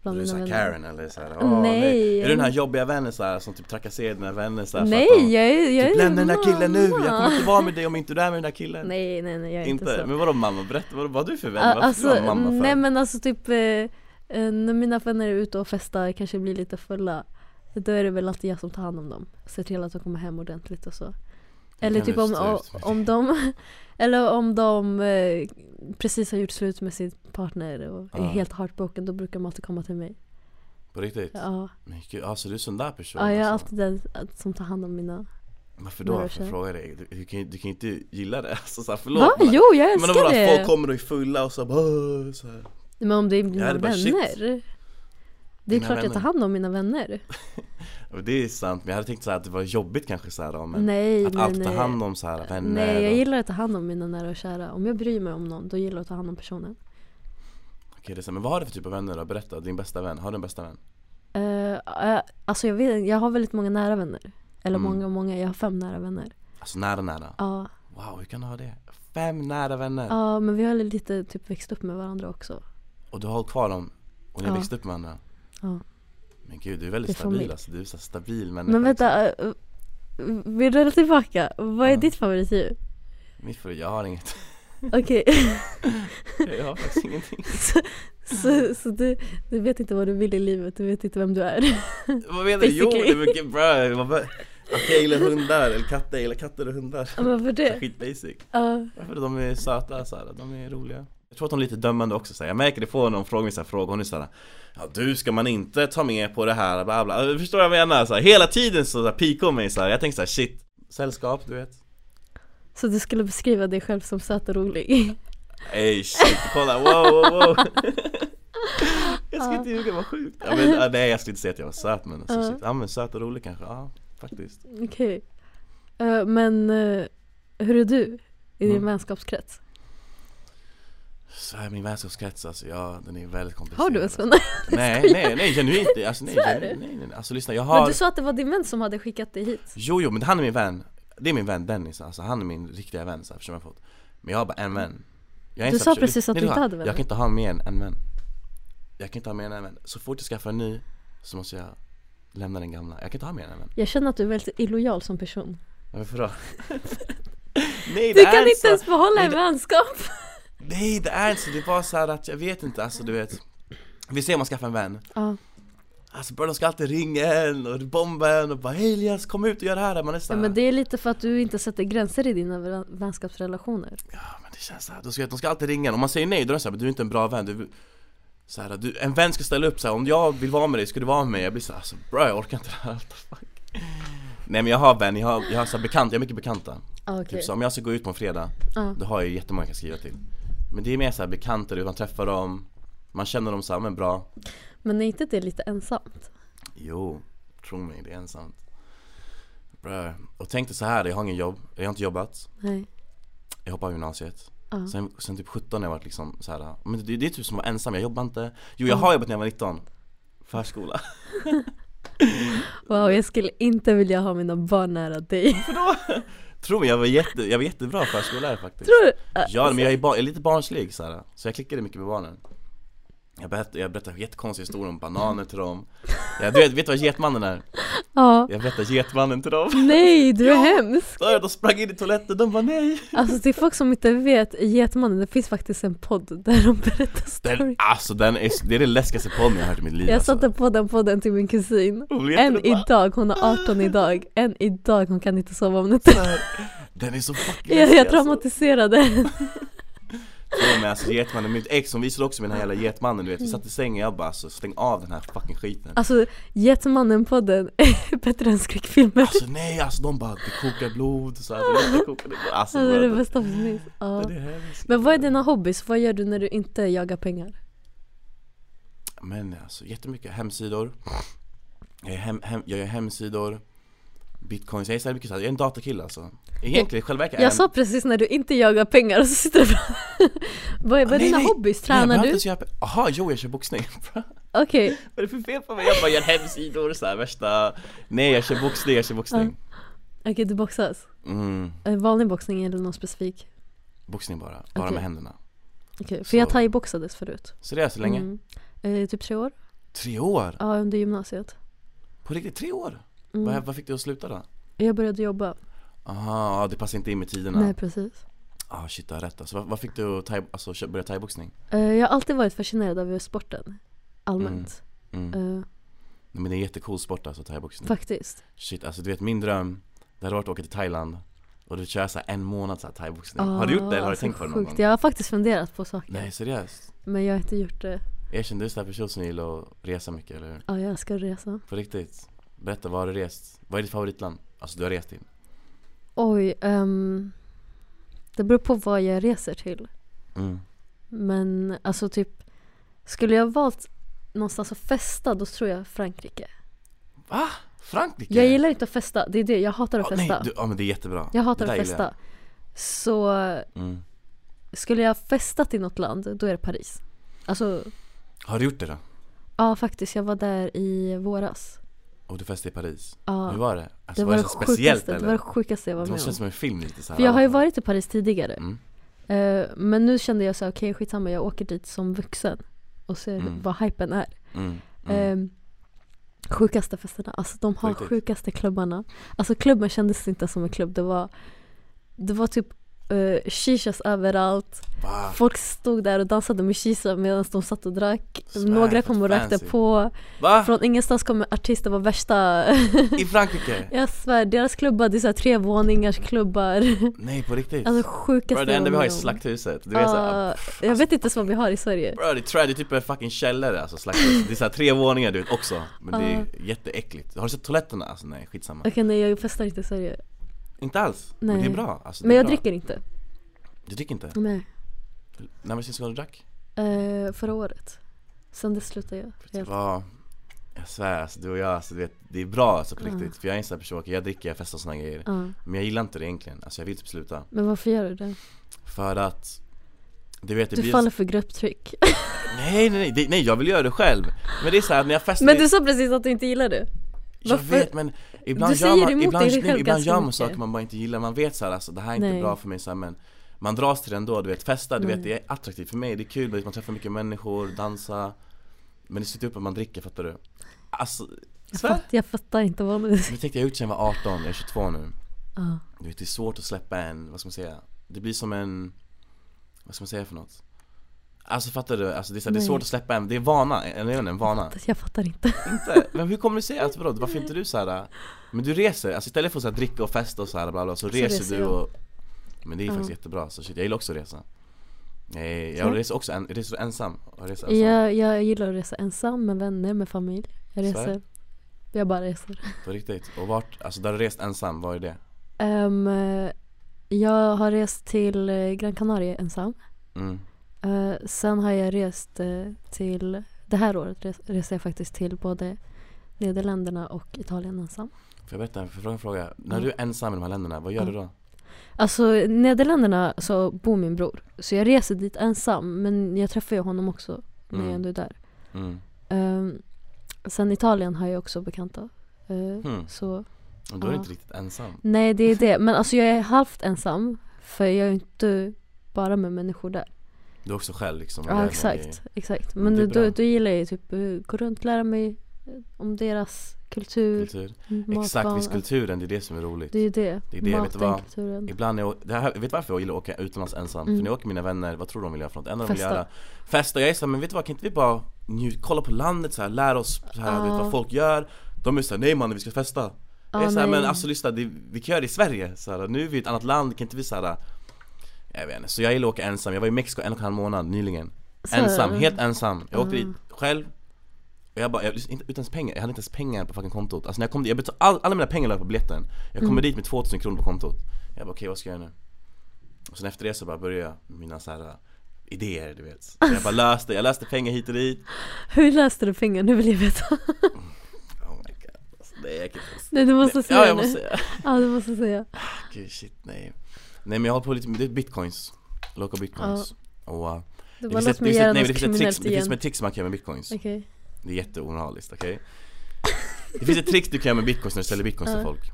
Speaker 3: Bland
Speaker 2: Du är
Speaker 3: mina
Speaker 2: såhär
Speaker 3: vänner.
Speaker 2: Karen eller såhär,
Speaker 3: Mm, Nej.
Speaker 2: åh nej. Är du den här jobbiga vännen såhär som typ trakasserar dina vänner såhär för att
Speaker 3: Nej,
Speaker 2: de,
Speaker 3: jag är, jag är
Speaker 2: Typ lämna den där killen nu, jag
Speaker 3: mamma.
Speaker 2: kommer inte vara med dig om inte du är med den där killen
Speaker 3: Nej, nej, nej, jag är inte,
Speaker 2: Inte,
Speaker 3: så.
Speaker 2: men vadå mamma, berätta, vad, vad har du för vän?
Speaker 3: Ah,
Speaker 2: Varför
Speaker 3: alltså,
Speaker 2: du har mamma för?
Speaker 3: nej men alltså typ eh, eh, när mina vänner är ute och festar, kanske blir lite fulla. Då är det väl alltid jag som tar hand om dem. Ser till att de kommer hem ordentligt och så. Eller
Speaker 2: kan
Speaker 3: typ
Speaker 2: du
Speaker 3: om,
Speaker 2: stå ut
Speaker 3: o-
Speaker 2: med.
Speaker 3: om de Eller om de eh, precis har gjort slut med sin partner och
Speaker 2: Ja.
Speaker 3: är helt heartbroken, då brukar de alltid komma till mig.
Speaker 2: På riktigt?
Speaker 3: Ja,
Speaker 2: Men gud, alltså du är sån där person
Speaker 3: ja jag är
Speaker 2: alltså.
Speaker 3: alltid den som tar hand om mina...
Speaker 2: Varför då?
Speaker 3: Några
Speaker 2: Varför
Speaker 3: tjejer.
Speaker 2: frågar jag dig? Du, du, kan, ju- du kan ju inte gilla det, alltså såhär förlåt
Speaker 3: Va?
Speaker 2: men-
Speaker 3: Jo, jag
Speaker 2: Men om
Speaker 3: älskar
Speaker 2: bara
Speaker 3: det!
Speaker 2: folk kommer och är fulla och så bara "Åh", så här.
Speaker 3: Men om det är mina
Speaker 2: hade bara, shit.
Speaker 3: vänner. Det är
Speaker 2: Mina
Speaker 3: klart jag tar
Speaker 2: vänner.
Speaker 3: hand om mina vänner.
Speaker 2: Och det är sant, men jag hade tänkt så här att det var jobbigt kanske så här då, men
Speaker 3: nej,
Speaker 2: Att
Speaker 3: nej,
Speaker 2: alltid ta
Speaker 3: nej.
Speaker 2: hand om så här vänner
Speaker 3: Nej, jag
Speaker 2: och...
Speaker 3: gillar att ta hand om mina nära och kära. Om jag bryr mig om någon, då gillar jag att ta hand om personen.
Speaker 2: Okej, det är så här, men vad har du för typ av vänner då? Berätta, din bästa vän, har du en bästa vän?
Speaker 3: Eh, eh, alltså jag, vet, jag har väldigt många nära vänner. Eller
Speaker 2: Mm.
Speaker 3: många, många. Jag har fem nära vänner.
Speaker 2: Alltså nära nära?
Speaker 3: Ja.
Speaker 2: Wow, hur kan du ha det? Fem nära vänner!
Speaker 3: Ja men vi har lite typ växt upp med varandra också.
Speaker 2: Och du har hållit kvar dem och ni
Speaker 3: Ja.
Speaker 2: växte upp med varandra?
Speaker 3: Ja.
Speaker 2: Men gud, du är väldigt
Speaker 3: Det är
Speaker 2: stabil
Speaker 3: familj.
Speaker 2: alltså. Du är så här stabil människa.
Speaker 3: Men vänta, eh, vi rullar tillbaka. Vad är
Speaker 2: Ja.
Speaker 3: ditt favoritdjur?
Speaker 2: liksom. Mitt för, jag har inget.
Speaker 3: Okej,
Speaker 2: Jag har faktiskt ingenting.
Speaker 3: så, så, så du, du vet inte vad du vill i livet, du vet inte vem du är.
Speaker 2: Vad menar du? Jo, det
Speaker 3: Basically.
Speaker 2: är mycket bra. Vad bra. Att jag gillar hundar eller katter. Jag gillar katter och hundar.
Speaker 3: Ja, men för
Speaker 2: Så här
Speaker 3: det?
Speaker 2: Skit basic.
Speaker 3: Ja,
Speaker 2: Varför de är söta så här, de är roliga. Jag tror att de är lite dömande också så här. Jag märker det på någon frågar mig så här frågor, hon är så här, Ja du ska man inte ta med på det här bla bla. Jag Förstår vad jag menar? Så här, hela tiden så där pikar hon mig så här. Jag tänker så här, shit. Sällskap du vet.
Speaker 3: så du skulle beskriva dig själv som söt och rolig?
Speaker 2: Ey shit, kolla, wow wow wow Jag ska inte ljuga, vad sjukt! Ja, men, ja, nej jag skulle inte säga att jag var söt men, alltså,
Speaker 3: Ja.
Speaker 2: shit. ja, men söt och rolig kanske, ja faktiskt
Speaker 3: Okej. Eh, men eh, hur är du i din
Speaker 2: Mm.
Speaker 3: vänskapskrets?
Speaker 2: Så här, min vänskapskrets alltså, ja den är väldigt komplicerad
Speaker 3: Har du en
Speaker 2: alltså.
Speaker 3: sån?
Speaker 2: Nej nej nej genuint inte, alltså, nej,
Speaker 3: Svär
Speaker 2: genuint, nej, nej, nej Alltså lyssna, jag
Speaker 3: Men
Speaker 2: har
Speaker 3: du sa att det var din vän som hade skickat dig hit.
Speaker 2: Jo jo men han är min vän Det är min vän Dennis, alltså han är min riktiga vän så här, förstår du vad jag har fått Men jag har bara en vän jag är
Speaker 3: Du
Speaker 2: inte så här-
Speaker 3: sa precis att
Speaker 2: Nej,
Speaker 3: du
Speaker 2: har-
Speaker 3: inte hade vänner.
Speaker 2: Jag kan inte ha mer än en vän Jag kan inte ha mer än en vän Så fort jag skaffar en ny så måste jag lämna den gamla Jag kan inte ha mer än en vän
Speaker 3: Jag känner att du är väldigt illojal som person.
Speaker 2: Varför då? Nej det
Speaker 3: Du
Speaker 2: är
Speaker 3: kan inte
Speaker 2: så.
Speaker 3: ens behålla en
Speaker 2: det-
Speaker 3: vänskap!
Speaker 2: Nej det är inte så, det är bara så här att jag vet inte, alltså du vet Vi ser om man skaffar en vän
Speaker 3: Ja,
Speaker 2: Alltså bror de ska alltid ringa en och bomba en och bara Hej Elias kom ut och gör det här Man är så
Speaker 3: ja
Speaker 2: här,
Speaker 3: men det är lite för att du inte sätter gränser i dina vän- vänskapsrelationer.
Speaker 2: Ja men det känns såhär, de ska, de ska alltid ringa en. Om man säger nej då är det såhär, men du är inte en bra vän du, så här, du, En vän ska ställa upp såhär, om jag vill vara med dig ska du vara med mig Jag blir såhär, alltså bro jag orkar inte det här, what the fuck Nej men jag har vän, jag har, jag har såhär bekanta, jag har mycket bekanta
Speaker 3: Ja, okej.
Speaker 2: Typ så om jag ska gå ut på en fredag,
Speaker 3: Ja.
Speaker 2: då har jag jättemånga jag kan skriva till Men det är mer såhär bekanta, du vet, man träffar dem Man känner dem såhär, men bra
Speaker 3: Men är inte det lite ensamt?
Speaker 2: Jo, tro mig det är ensamt Bro, och tänk dig så här, jag har ingen jobb, jag har inte jobbat
Speaker 3: Nej.
Speaker 2: Jag hoppade av gymnasiet
Speaker 3: Ja.
Speaker 2: sen, sen typ 17 har jag varit liksom så här. Men det, det är typ som att vara ensam, jag jobbar inte Jo jag har jobbat när jag var 19 Förskola
Speaker 3: Wow, jag skulle inte vilja ha mina barn nära dig.
Speaker 2: Tro mig, jag var, jätte, jag var jättebra förskollärare faktiskt
Speaker 3: Tror du?
Speaker 2: Ja men jag är, bar, jag är lite barnslig så här. Så jag klickade mycket med barnen Jag berättade, jag berättade jättekonstiga historier om bananer till dem jag, Du vet, vet du vad Getmannen är?
Speaker 3: Ja.
Speaker 2: Jag berättade Getmannen till dem
Speaker 3: Nej, du är hemsk!
Speaker 2: Då är jag- De sprang in i toaletten, de bara nej
Speaker 3: Alltså till folk som inte vet, Getmannen, det finns faktiskt en podd där de berättar
Speaker 2: den,
Speaker 3: stories.
Speaker 2: Alltså den är, det är det läskigaste podden jag har hört i mitt liv
Speaker 3: Jag
Speaker 2: alltså.
Speaker 3: satte på den podden till min kusin.
Speaker 2: Hon letar
Speaker 3: Än
Speaker 2: och bara-
Speaker 3: idag, hon är 18 idag. Än idag, hon kan inte sova om nätterna.
Speaker 2: Den är så fucking
Speaker 3: Jag, jag
Speaker 2: läskig, alltså.
Speaker 3: traumatiserade henne.
Speaker 2: Ja men alltså getmannen, mitt ex hon visade också mig den här jävla getmannen du vet Vi satt i sängen jag bara alltså stäng av den här fucking skiten
Speaker 3: Alltså, Getmannen-podden är bättre än skräckfilmer.
Speaker 2: Alltså nej alltså de bara det kokar blod så här, det luktar kokande blod. Alltså,
Speaker 3: Alltså, det är det
Speaker 2: bara,
Speaker 3: bästa som finns. Ja.
Speaker 2: det är hemskt.
Speaker 3: Men vad är dina hobbys? Vad gör du när du inte jagar pengar?
Speaker 2: Men alltså jättemycket hemsidor Jag gör, hem, hem, jag gör hemsidor Bitcoins, jag är så här mycket så här, jag är en datakille alltså Egentligen, själva verket är
Speaker 3: Jag sa precis när du inte jagar pengar och så sitter du bara... Vad är, vad är
Speaker 2: Ah, Nej,
Speaker 3: dina
Speaker 2: nej.
Speaker 3: hobbys?
Speaker 2: Nej, jag
Speaker 3: Tränar
Speaker 2: behöver
Speaker 3: du?
Speaker 2: inte så jävla- Aha, jo jag kör boxning
Speaker 3: Okej,
Speaker 2: Vad är det för fel på mig? Jag bara gör hemsidor så här, värsta Nej jag kör boxning, jag kör boxning
Speaker 3: okej du boxas.
Speaker 2: mm,
Speaker 3: Eh, Vanlig boxning eller någon specifik?
Speaker 2: Boxning bara, bara
Speaker 3: Okej.
Speaker 2: med händerna
Speaker 3: Okej, för
Speaker 2: Så.
Speaker 3: jag thaiboxades förut.
Speaker 2: Så det är så länge?
Speaker 3: Mm. Eh, typ tre år?
Speaker 2: Tre år?
Speaker 3: Ja, under gymnasiet.
Speaker 2: På riktigt tre år?
Speaker 3: Mm.
Speaker 2: Vad, vad fick du att sluta då?
Speaker 3: Jag började jobba.
Speaker 2: Aha, ja, det passar inte in med tiderna
Speaker 3: Nej, precis.
Speaker 2: Ah shit, du har rätt alltså, vad, vad fick du att thai, alltså, kö- börja thaiboxning?
Speaker 3: Eh, jag har alltid varit fascinerad av sporten. Allmänt.
Speaker 2: Mm.
Speaker 3: Eh,
Speaker 2: Nej, Men det är en jättecool sport alltså thaiboxning
Speaker 3: faktiskt.
Speaker 2: Shit alltså du vet min dröm, det hade varit att åka till Thailand och du kör så här en månad så här thaiboxning
Speaker 3: Ah,
Speaker 2: Har du gjort det eller har du
Speaker 3: alltså,
Speaker 2: tänkt på det någon
Speaker 3: sjukt.
Speaker 2: gång?
Speaker 3: Jag har faktiskt funderat på saker.
Speaker 2: Nej seriöst?
Speaker 3: Men jag har inte gjort det.
Speaker 2: Erkänn du är en sån här person som gillar att resa mycket eller hur?
Speaker 3: Ja, jag ska resa.
Speaker 2: På riktigt? Berätta, vad har du rest? Vad är ditt favoritland? Alltså du har rest in?
Speaker 3: Oj, ehm, det beror på vad jag reser till.
Speaker 2: Mm.
Speaker 3: Men alltså typ, skulle jag valt någonstans att festa då tror jag Frankrike.
Speaker 2: Va? Frankrike?
Speaker 3: Jag gillar inte att festa, det är det, jag hatar att
Speaker 2: Ah, nej,
Speaker 3: festa.
Speaker 2: du, ja men det är jättebra
Speaker 3: Jag
Speaker 2: Det
Speaker 3: hatar att
Speaker 2: där gillar
Speaker 3: festa. Så
Speaker 2: jag. Mm.
Speaker 3: skulle jag festat i något land, då är det Paris. Alltså,
Speaker 2: Har du gjort det då?
Speaker 3: ja faktiskt, jag var där i våras.
Speaker 2: Och du festade i Paris.
Speaker 3: Ja.
Speaker 2: Hur var det? Alltså,
Speaker 3: Det
Speaker 2: var
Speaker 3: var
Speaker 2: det
Speaker 3: det
Speaker 2: så speciellt
Speaker 3: sjukaste,
Speaker 2: eller?
Speaker 3: det var det sjukaste jag var
Speaker 2: det
Speaker 3: med
Speaker 2: måste
Speaker 3: om.
Speaker 2: kännas som en film lite så här.
Speaker 3: För jag har ju varit i Paris tidigare.
Speaker 2: Mm.
Speaker 3: Eh, men nu kände jag så här, okej skitsamma, jag åker dit som vuxen. Och ser
Speaker 2: Mm.
Speaker 3: vad hypen är.
Speaker 2: Mm. Mm.
Speaker 3: Mm. sjukaste festerna, alltså de har
Speaker 2: Riktigt.
Speaker 3: sjukaste klubbarna. Alltså klubben kändes inte som en klubb, det var, det var typ eh, shishas överallt.
Speaker 2: Va?
Speaker 3: Folk stod där och dansade med shisha medan de satt och drack.
Speaker 2: Svär,
Speaker 3: Några
Speaker 2: vad
Speaker 3: kom och rökte
Speaker 2: fancy. Ah.
Speaker 3: på.
Speaker 2: Va?
Speaker 3: Från ingenstans kom artister, var värsta...
Speaker 2: I Frankrike?
Speaker 3: jag svär, deras klubbar, det är så här trevåningars klubbar.
Speaker 2: Nej på riktigt?
Speaker 3: Alltså sjukaste
Speaker 2: Bro, det enda vi har är
Speaker 3: med om.
Speaker 2: slakthuset, du vet såhär,
Speaker 3: Ja, jag
Speaker 2: alltså,
Speaker 3: vet inte ens vad vi har i Sverige.
Speaker 2: Bro, det är, trä, det är typ en fucking källare alltså, slakthuset. Det är såhär tre våningar du vet också Men det är jätteäckligt Har du sett toaletterna? Alltså nej, skitsamma
Speaker 3: Okej nej jag festar inte i Sverige.
Speaker 2: Inte alls, men det
Speaker 3: Nej.
Speaker 2: är bra alltså, det
Speaker 3: Men
Speaker 2: är
Speaker 3: jag
Speaker 2: bra.
Speaker 3: dricker inte.
Speaker 2: Du dricker inte?
Speaker 3: Nej.
Speaker 2: När var sist gången du drack?
Speaker 3: Eh, förra året. Sen det slutade jag helt.
Speaker 2: Ja, jag svär alltså, du och jag, alltså, du vet, det är bra alltså på riktigt För jag är en sån här person, okej, jag dricker, jag festar och såna grejer
Speaker 3: Ja.
Speaker 2: Men jag gillar inte det egentligen, alltså jag vill typ sluta
Speaker 3: Men varför gör du det?
Speaker 2: För att Du vet, det
Speaker 3: Du
Speaker 2: blir
Speaker 3: faller för grupptryck.
Speaker 2: Nej nej nej, det, nej jag vill göra det själv Men det är såhär när jag festar
Speaker 3: Men du sa precis att du inte gillar det.
Speaker 2: Jag
Speaker 3: Varför-
Speaker 2: vet men ibland
Speaker 3: Du
Speaker 2: gör
Speaker 3: säger
Speaker 2: man,
Speaker 3: emot
Speaker 2: ibland,
Speaker 3: dig
Speaker 2: nej,
Speaker 3: själv
Speaker 2: ibland
Speaker 3: ganska
Speaker 2: gör man
Speaker 3: mycket.
Speaker 2: saker man bara inte gillar, man vet såhär alltså det här är inte
Speaker 3: Nej. Mm.
Speaker 2: bra för mig så här, men Man dras till det ändå, du vet festa, du vet det är attraktivt för mig, det är kul, du vet, man träffar mycket människor, dansa Men det slutar upp att man dricker, fattar du? Alltså,
Speaker 3: Jag,
Speaker 2: så här,
Speaker 3: fatt, jag fattar inte vad du
Speaker 2: men tänk dig, jag har gjort sedan jag var 18, jag är 22 nu
Speaker 3: Ja.
Speaker 2: Du vet det är svårt att släppa en, vad ska man säga? Det blir som en, vad ska man säga för något? Alltså fattar du? Alltså, det, är så här, det är
Speaker 3: Nej.
Speaker 2: svårt att släppa en, det är vana, en, en, en vana
Speaker 3: Jag fattar inte.
Speaker 2: inte. Men hur kommer det sig? Alltså, vadå, varför inte du så här? Men du reser, alltså istället för att så här, dricka och festa och så här, bla, bla, så, reser,
Speaker 3: reser
Speaker 2: du
Speaker 3: jag.
Speaker 2: och Men det är ju
Speaker 3: Ja.
Speaker 2: faktiskt jättebra, så shit, jag gillar också att resa Nej, jag
Speaker 3: Ja.
Speaker 2: reser också en, jag reser ensam, jag reser ensam
Speaker 3: Jag, jag gillar att resa ensam med vänner, med familj. Jag
Speaker 2: Så här.
Speaker 3: reser. Jag bara reser.
Speaker 2: på riktigt Och vart, alltså där du rest ensam, vad är det?
Speaker 3: Ehm, eh, jag har rest till eh, Gran Canaria ensam.
Speaker 2: Mm.
Speaker 3: Eh, sen har jag rest eh, till, det här året res, reser jag faktiskt till både Nederländerna och Italien ensam.
Speaker 2: Får jag berätta, får jag fråga en fråga? När du är ensam i de här länderna, vad gör
Speaker 3: Ja.
Speaker 2: du då?
Speaker 3: Alltså Nederländerna så bor min bror. Så jag reser dit ensam men jag träffar ju honom också när
Speaker 2: Mm.
Speaker 3: jag ändå är där.
Speaker 2: Mm.
Speaker 3: Ehm, sen Italien har jag också bekanta. Ehm,
Speaker 2: Hmm.
Speaker 3: Så
Speaker 2: Och då är du
Speaker 3: Ja.
Speaker 2: inte riktigt ensam
Speaker 3: nej det är det. Men alltså jag är halvt ensam. För jag är ju inte bara med människor där.
Speaker 2: Du är också själv liksom och
Speaker 3: Ja
Speaker 2: gör några
Speaker 3: exakt,
Speaker 2: grejer.
Speaker 3: exakt.
Speaker 2: Men
Speaker 3: Men
Speaker 2: det är
Speaker 3: då,
Speaker 2: bra.
Speaker 3: då, då gillar jag ju typ eh, gå runt lära mig eh, om deras kultur,
Speaker 2: Kultur.
Speaker 3: matvanor.
Speaker 2: Exakt, visst kulturen, det är det som är roligt
Speaker 3: Mm, Alltså, Det är ju det.
Speaker 2: Det är det, vet du
Speaker 3: Maten,
Speaker 2: vad?
Speaker 3: kulturen.
Speaker 2: Ibland när jag, det här, vet du varför jag gillar att åka utomlands ensam? För
Speaker 3: Mm.
Speaker 2: när jag åker med mina vänner, vad tror de vill göra för något? Det enda de vill
Speaker 3: Festa.
Speaker 2: göra Festa, jag är såhär, men vet du vad, kan inte vi bara nju- kolla på landet så här, lära oss så här,
Speaker 3: Ja.
Speaker 2: vet, vad folk gör? De är såhär, nej mannen vi ska festa Jag är
Speaker 3: Ja,
Speaker 2: såhär,
Speaker 3: Ah, nej.
Speaker 2: men alltså lyssna, det, vi kan göra det i Sverige så här, Nu är vi i ett annat land, kan inte vi såhär Jag vet inte, så jag gillar att åka ensam, jag var i Mexiko en och en halv månad nyligen
Speaker 3: Så-
Speaker 2: Ensam, helt ensam, jag åkte
Speaker 3: Ah.
Speaker 2: dit själv och jag bara, jag, inte, utan ens pengar, jag hade inte ens pengar på fucking kontot Alltså när jag kom dit, jag betal, all, alla mina pengar la jag på biljetten Jag
Speaker 3: Mm.
Speaker 2: kommer dit med 2000 kronor på kontot Jag bara okej vad ska jag göra nu? Och sen efter det så bara började jag med mina så här äh, idéer du vet Så Jag bara löste, jag löste pengar hit och dit
Speaker 3: Hur löste du pengar? Nu vill jag veta.
Speaker 2: Oh my god alltså, nej jag kan inte ens-
Speaker 3: Nej du måste säga
Speaker 2: Ja jag
Speaker 3: nu.
Speaker 2: måste säga
Speaker 3: Ja du måste säga.
Speaker 2: Gud shit nej Nej men jag har hållit på lite med det är bitcoins Locka bitcoins Och, uh,
Speaker 3: Du
Speaker 2: det
Speaker 3: bara
Speaker 2: finns
Speaker 3: låt
Speaker 2: ett, det
Speaker 3: mig
Speaker 2: finns
Speaker 3: göra
Speaker 2: ett, nej, men
Speaker 3: något
Speaker 2: det finns ett
Speaker 3: kriminellt
Speaker 2: tricks, det finns
Speaker 3: igen.
Speaker 2: ett tricks man kan göra med bitcoins
Speaker 3: Okej.
Speaker 2: Det är jätteomoraliskt, okej? Det finns ett trick du kan göra med bitcoins när du säljer bitcoins till
Speaker 3: Ja.
Speaker 2: folk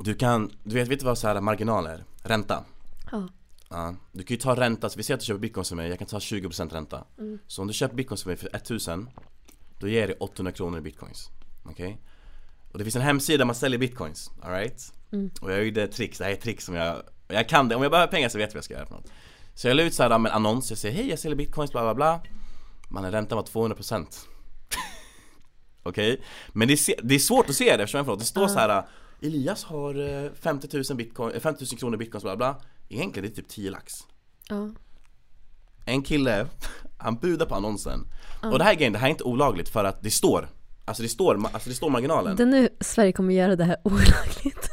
Speaker 2: Du kan, du vet, vet du vad så här marginaler? Ränta
Speaker 3: Ja.
Speaker 2: Ja, du kan ju ta ränta, så vi säger att du köper bitcoins för mig, jag kan ta 20% ränta Så om du köper bitcoins för mig för 1000 Då ger jag dig 800 kronor i bitcoins Okej? Och det finns en hemsida där man säljer bitcoins, alright? Och jag gjorde tricks, det här är ett trick som jag, och jag kan det, om jag behöver pengar så vet jag vad jag ska göra för något Så jag la ut såhär en annons, jag säger hej jag säljer bitcoins bla bla bla Mannen räntan var 200% Okej? Men det är, se- det är svårt att se det eftersom jag förlåt, det står så här Elias har eh, 50 000, bitcoin, eh, 50 000 kronor i bitcoins bla bla Egentligen det är typ 10 lax
Speaker 3: Ja.
Speaker 2: En kille, han budar på annonsen Och det här är grejen, det här är inte olagligt för att det står Alltså det står, ma- alltså det står marginalen
Speaker 3: Det är nu Sverige kommer göra det här olagligt.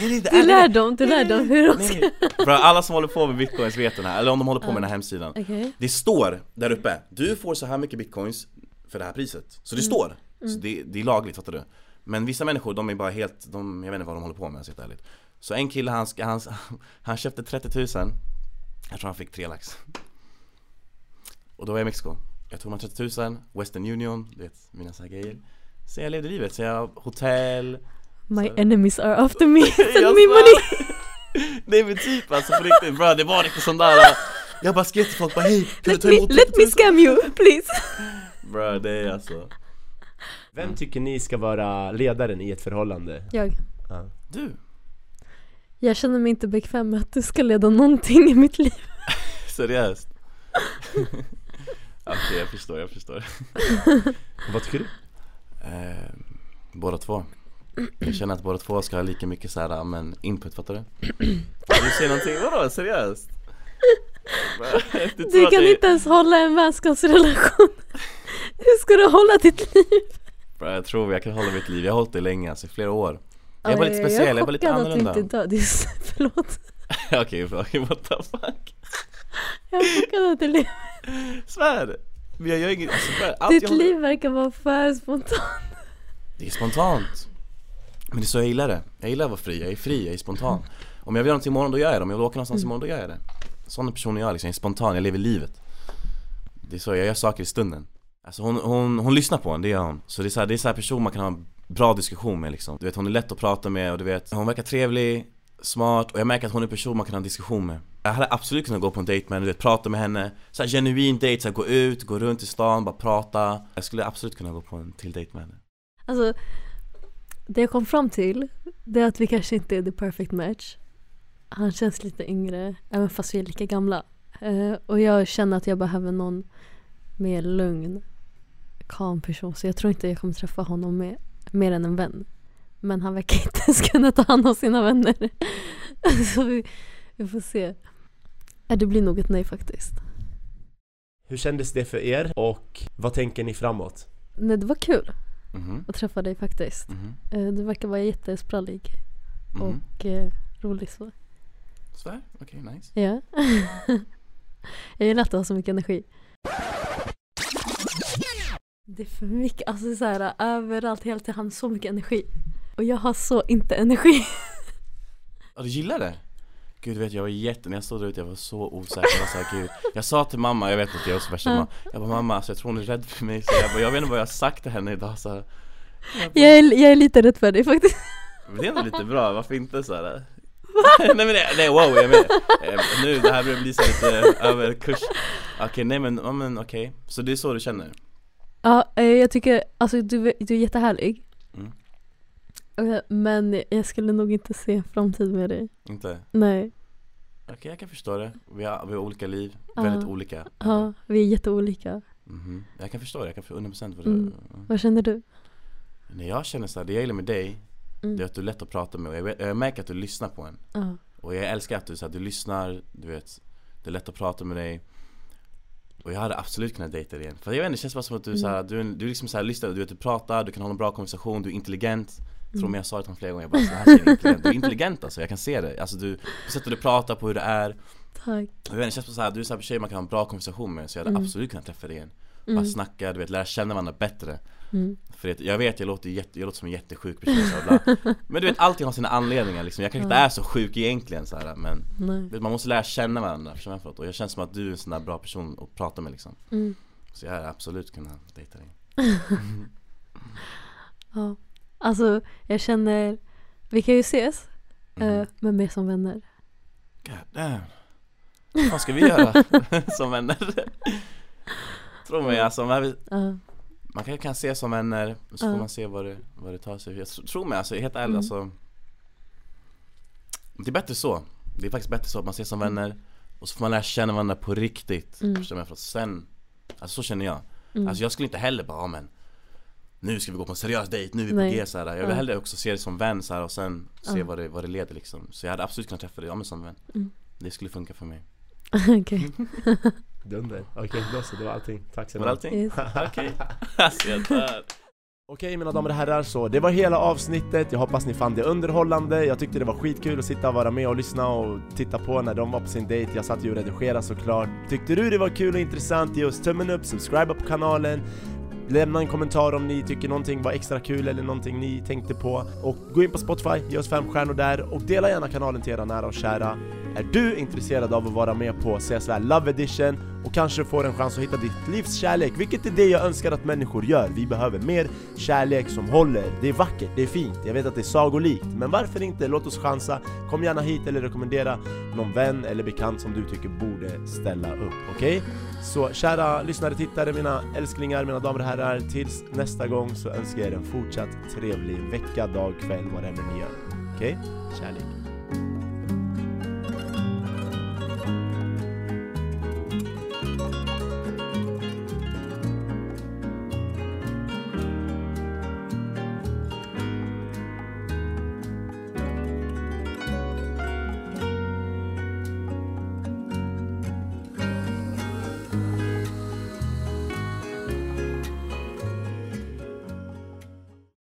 Speaker 2: Nej, nej, det
Speaker 3: Du
Speaker 2: är-
Speaker 3: lär dem, du lär dem hur de ska...
Speaker 2: Nej, för alla som håller på med bitcoins vet den här, eller om de håller på med den här hemsidan
Speaker 3: Okej.
Speaker 2: Det står där uppe, du får så här mycket bitcoins för det här priset Så det
Speaker 3: Mm.
Speaker 2: står, så det, det är lagligt fattar du Men vissa människor de är bara helt, de, jag vet inte vad de håller på med så helt ärligt Så en kille han, ska- han, han köpte 30 000 Jag tror han fick 3 lax Och då var jag i Mexiko Jag tog de här 30 000, Western Union, du vet mina så här grejer Sen jag levde livet, sen jag hotell
Speaker 3: My
Speaker 2: Så-
Speaker 3: enemies are after me, send
Speaker 2: Jag
Speaker 3: me
Speaker 2: svär.
Speaker 3: money!
Speaker 2: Nej men typ alltså på riktigt bra, det var liksom sån där Jag bara skrev till folk bara hej, kan du
Speaker 3: Let
Speaker 2: ta
Speaker 3: me,
Speaker 2: emot
Speaker 3: let me scam you, please!
Speaker 2: Bra det är alltså
Speaker 1: Vem tycker ni ska vara ledaren i ett förhållande?
Speaker 3: Jag,
Speaker 1: Ja.
Speaker 2: Du,
Speaker 3: jag känner mig inte bekväm med att du ska leda någonting i mitt liv
Speaker 2: seriöst? Okej jag förstår, jag förstår
Speaker 1: Vad tycker du?
Speaker 2: eh, Båda två Jag känner att båda två ska ha lika mycket så här, men input fattar du? Du säger någonting, vadå seriöst?
Speaker 3: Du kan inte ens hålla en vänskapsrelation Hur ska du hålla ditt liv?
Speaker 2: Bra, jag tror jag kan hålla mitt liv, jag har hållit det länge alltså i flera år Jag var lite speciell, jag var lite
Speaker 3: Jag är
Speaker 2: annorlunda
Speaker 3: chockad att du inte är död, Just- förlåt
Speaker 2: Okej, okay, what the fuck?
Speaker 3: Jag är chockad att du lever
Speaker 2: Svär! Men jag gör inget, alltså, svär, allt
Speaker 3: Ditt
Speaker 2: jag håller-
Speaker 3: liv verkar vara för spontant
Speaker 2: Det är spontant Men det är så jag gillar det, jag gillar att vara fri, jag är fri, jag är spontan Om jag vill göra någonting imorgon då gör jag det, om jag vill åka någonstans imorgon då gör jag det Sån person är jag liksom, jag är spontan, jag lever livet Det är så, jag gör saker i stunden Alltså hon, hon, hon lyssnar på en, det gör hon Så det är så här, det är så här person man kan ha en bra diskussion med liksom Du vet hon är lätt att prata med och du vet Hon verkar trevlig, smart och jag märker att hon är en person man kan ha en diskussion med Jag hade absolut kunnat gå på en dejt med henne, du vet prata med henne så här genuin dejt, så här, gå ut, gå runt i stan, bara prata Jag skulle absolut kunna gå på en till dejt med henne
Speaker 3: Alltså Det jag kom fram till Det är att vi kanske inte är the perfect match Han känns lite yngre Även fast vi är lika gamla Eh, Och jag känner att jag behöver någon Mer lugn Calm person Så jag tror inte jag kommer träffa honom med, Mer än en vän Men han verkar inte ens kunna ta hand om sina vänner Så vi, vi får se Eh, Det blir nog ett nej faktiskt
Speaker 1: Hur kändes det för er och vad tänker ni framåt?
Speaker 3: Nej det var kul
Speaker 2: Mhm,
Speaker 3: att träffa dig faktiskt
Speaker 2: mhm,
Speaker 3: Eh, Du verkar vara jättesprallig
Speaker 2: mhm.
Speaker 3: och eh, rolig så.
Speaker 2: Svär? Okej, nice.
Speaker 3: Ja. jag gillar att du har så mycket energi. Det är för mycket, alltså så här överallt, hela tiden, han har så mycket energi. Och jag har så inte energi.
Speaker 2: Ja, du gillar det? Gud, du vet jag var jätte, när jag stod där ute jag var så osäker, jag var så här, gud Jag sa till mamma, jag vet att jag är så värsta mamma Jag bara mamma, alltså, jag tror hon är rädd för mig så jag, bara, jag vet inte vad jag har sagt till henne idag så här.
Speaker 3: Jag är, jag är lite rädd för dig faktiskt.
Speaker 2: Men det är ändå lite bra, varför inte så här? nej men nej, nej wow, jag menar, eh, nu det här börjar bli så lite överkurs Okej, nej men, ja, men okej, så det är så du känner?
Speaker 3: Ja, eh, jag tycker, alltså du, du är jättehärlig.
Speaker 2: Mm.
Speaker 3: Eh, Men jag skulle nog inte se en framtid med dig.
Speaker 2: Inte?
Speaker 3: Nej,
Speaker 2: Okej, jag kan förstå det, vi har, vi har olika liv,
Speaker 3: Ja.
Speaker 2: väldigt olika
Speaker 3: ja, vi är jätteolika.
Speaker 2: Mhm. Jag kan förstå det, jag kan förstå 100% vad du
Speaker 3: Mm. Vad känner du?
Speaker 2: När jag känner så här, det jag gillar med dig
Speaker 3: Mm.
Speaker 2: Det är att du är lätt att prata med och jag, vet- jag märker att du lyssnar på en
Speaker 3: Ja.
Speaker 2: Och jag älskar att du, så här, du lyssnar, du vet Det är lätt att prata med dig Och jag hade absolut kunnat dejta dig igen För jag vet inte, det känns bara som att du så här, du, är en- du är liksom så här, lyssnar, du vet du pratar, du kan hålla en bra konversation, du är intelligent jag Tror mig jag sa det till honom flera gånger, jag bara så här tjejen är intelligent. Du är intelligent alltså, jag kan se det Alltså du, på sättet du pratar, på hur det är Och
Speaker 3: Tack.
Speaker 2: jag vet inte, det känns bara så här, du är så här tjej man kan ha en bra konversation med Så jag hade absolut kunnat träffa dig igen Bara snacka, du vet lära känna varandra bättre
Speaker 3: Mm.
Speaker 2: för det, jag vet, jag låter, jätte, jag låter som en jättesjuk person så här ibland. Men du vet, allting har sina anledningar liksom. Jag kanske inte är så sjuk egentligen så här, men
Speaker 3: Nej.
Speaker 2: du vet, man måste lära känna varandra, förstår du vad jag menar? Och jag känner som att du är en sån där bra person att prata med liksom
Speaker 3: Mm.
Speaker 2: Så jag hade absolut kunnat dejta dig
Speaker 3: Ja. Alltså, jag känner... Vi kan ju ses, eh,
Speaker 2: Mhm.
Speaker 3: men mer som vänner.
Speaker 2: God damn. Vad ska vi göra som vänner? Tro mig alltså, man,
Speaker 3: Ja.
Speaker 2: man kan, kan se som vänner, så
Speaker 3: Ja.
Speaker 2: får man se vad det, vad det tar sig jag, tr- Tro mig alltså, helt ärligt
Speaker 3: Mm.
Speaker 2: alltså Det är bättre så Det är faktiskt bättre så att man ses som vänner Och så får man lära känna varandra på riktigt
Speaker 3: Mm.
Speaker 2: Förstår du vad jag menar? För att sen Alltså så känner jag
Speaker 3: Mm.
Speaker 2: Alltså jag skulle inte heller bara, "Ja, men Nu ska vi gå på en seriös dejt, nu är vi
Speaker 3: Nej.
Speaker 2: på G så här. Jag vill
Speaker 3: Ja.
Speaker 2: hellre också se det som vän så här, och sen se
Speaker 3: Ja.
Speaker 2: vad, det, vad det leder liksom Så jag hade absolut kunnat träffa dig, ja men som vän
Speaker 3: Mm.
Speaker 2: Det skulle funka för mig
Speaker 3: Okej.
Speaker 1: Dunder. Okej, då så, det var allting. Tack så
Speaker 2: Var det allting?
Speaker 3: Yes.
Speaker 2: Okej, alltså jag dör
Speaker 1: Okej mina damer och herrar, så det var hela avsnittet. Jag hoppas ni fann det underhållande. Jag tyckte det var skitkul att sitta och vara med och lyssna och titta på när de var på sin dejt. Jag satt ju och redigerade såklart. Tyckte du det var kul och intressant, ge oss tummen upp, subscribe på kanalen. Lämna en kommentar om ni tycker någonting var extra kul eller någonting ni tänkte på. Och gå in på Spotify, ge oss fem stjärnor där och dela gärna kanalen till era nära och kära. Är du intresserad av att vara med på CSVR Love Edition och kanske får en chans att hitta ditt livs kärlek, vilket är det jag önskar att människor gör. Vi behöver mer kärlek som håller. Det är vackert, det är fint, jag vet att det är sagolikt, men varför inte? Låt oss chansa. Kom gärna hit eller rekommendera någon vän eller bekant som du tycker borde ställa upp, okej? Så kära lyssnare, tittare, mina älsklingar, mina damer och herrar, tills nästa gång så önskar jag er en fortsatt trevlig vecka, dag, kväll, whatever ni gör. Okej? Kärlek.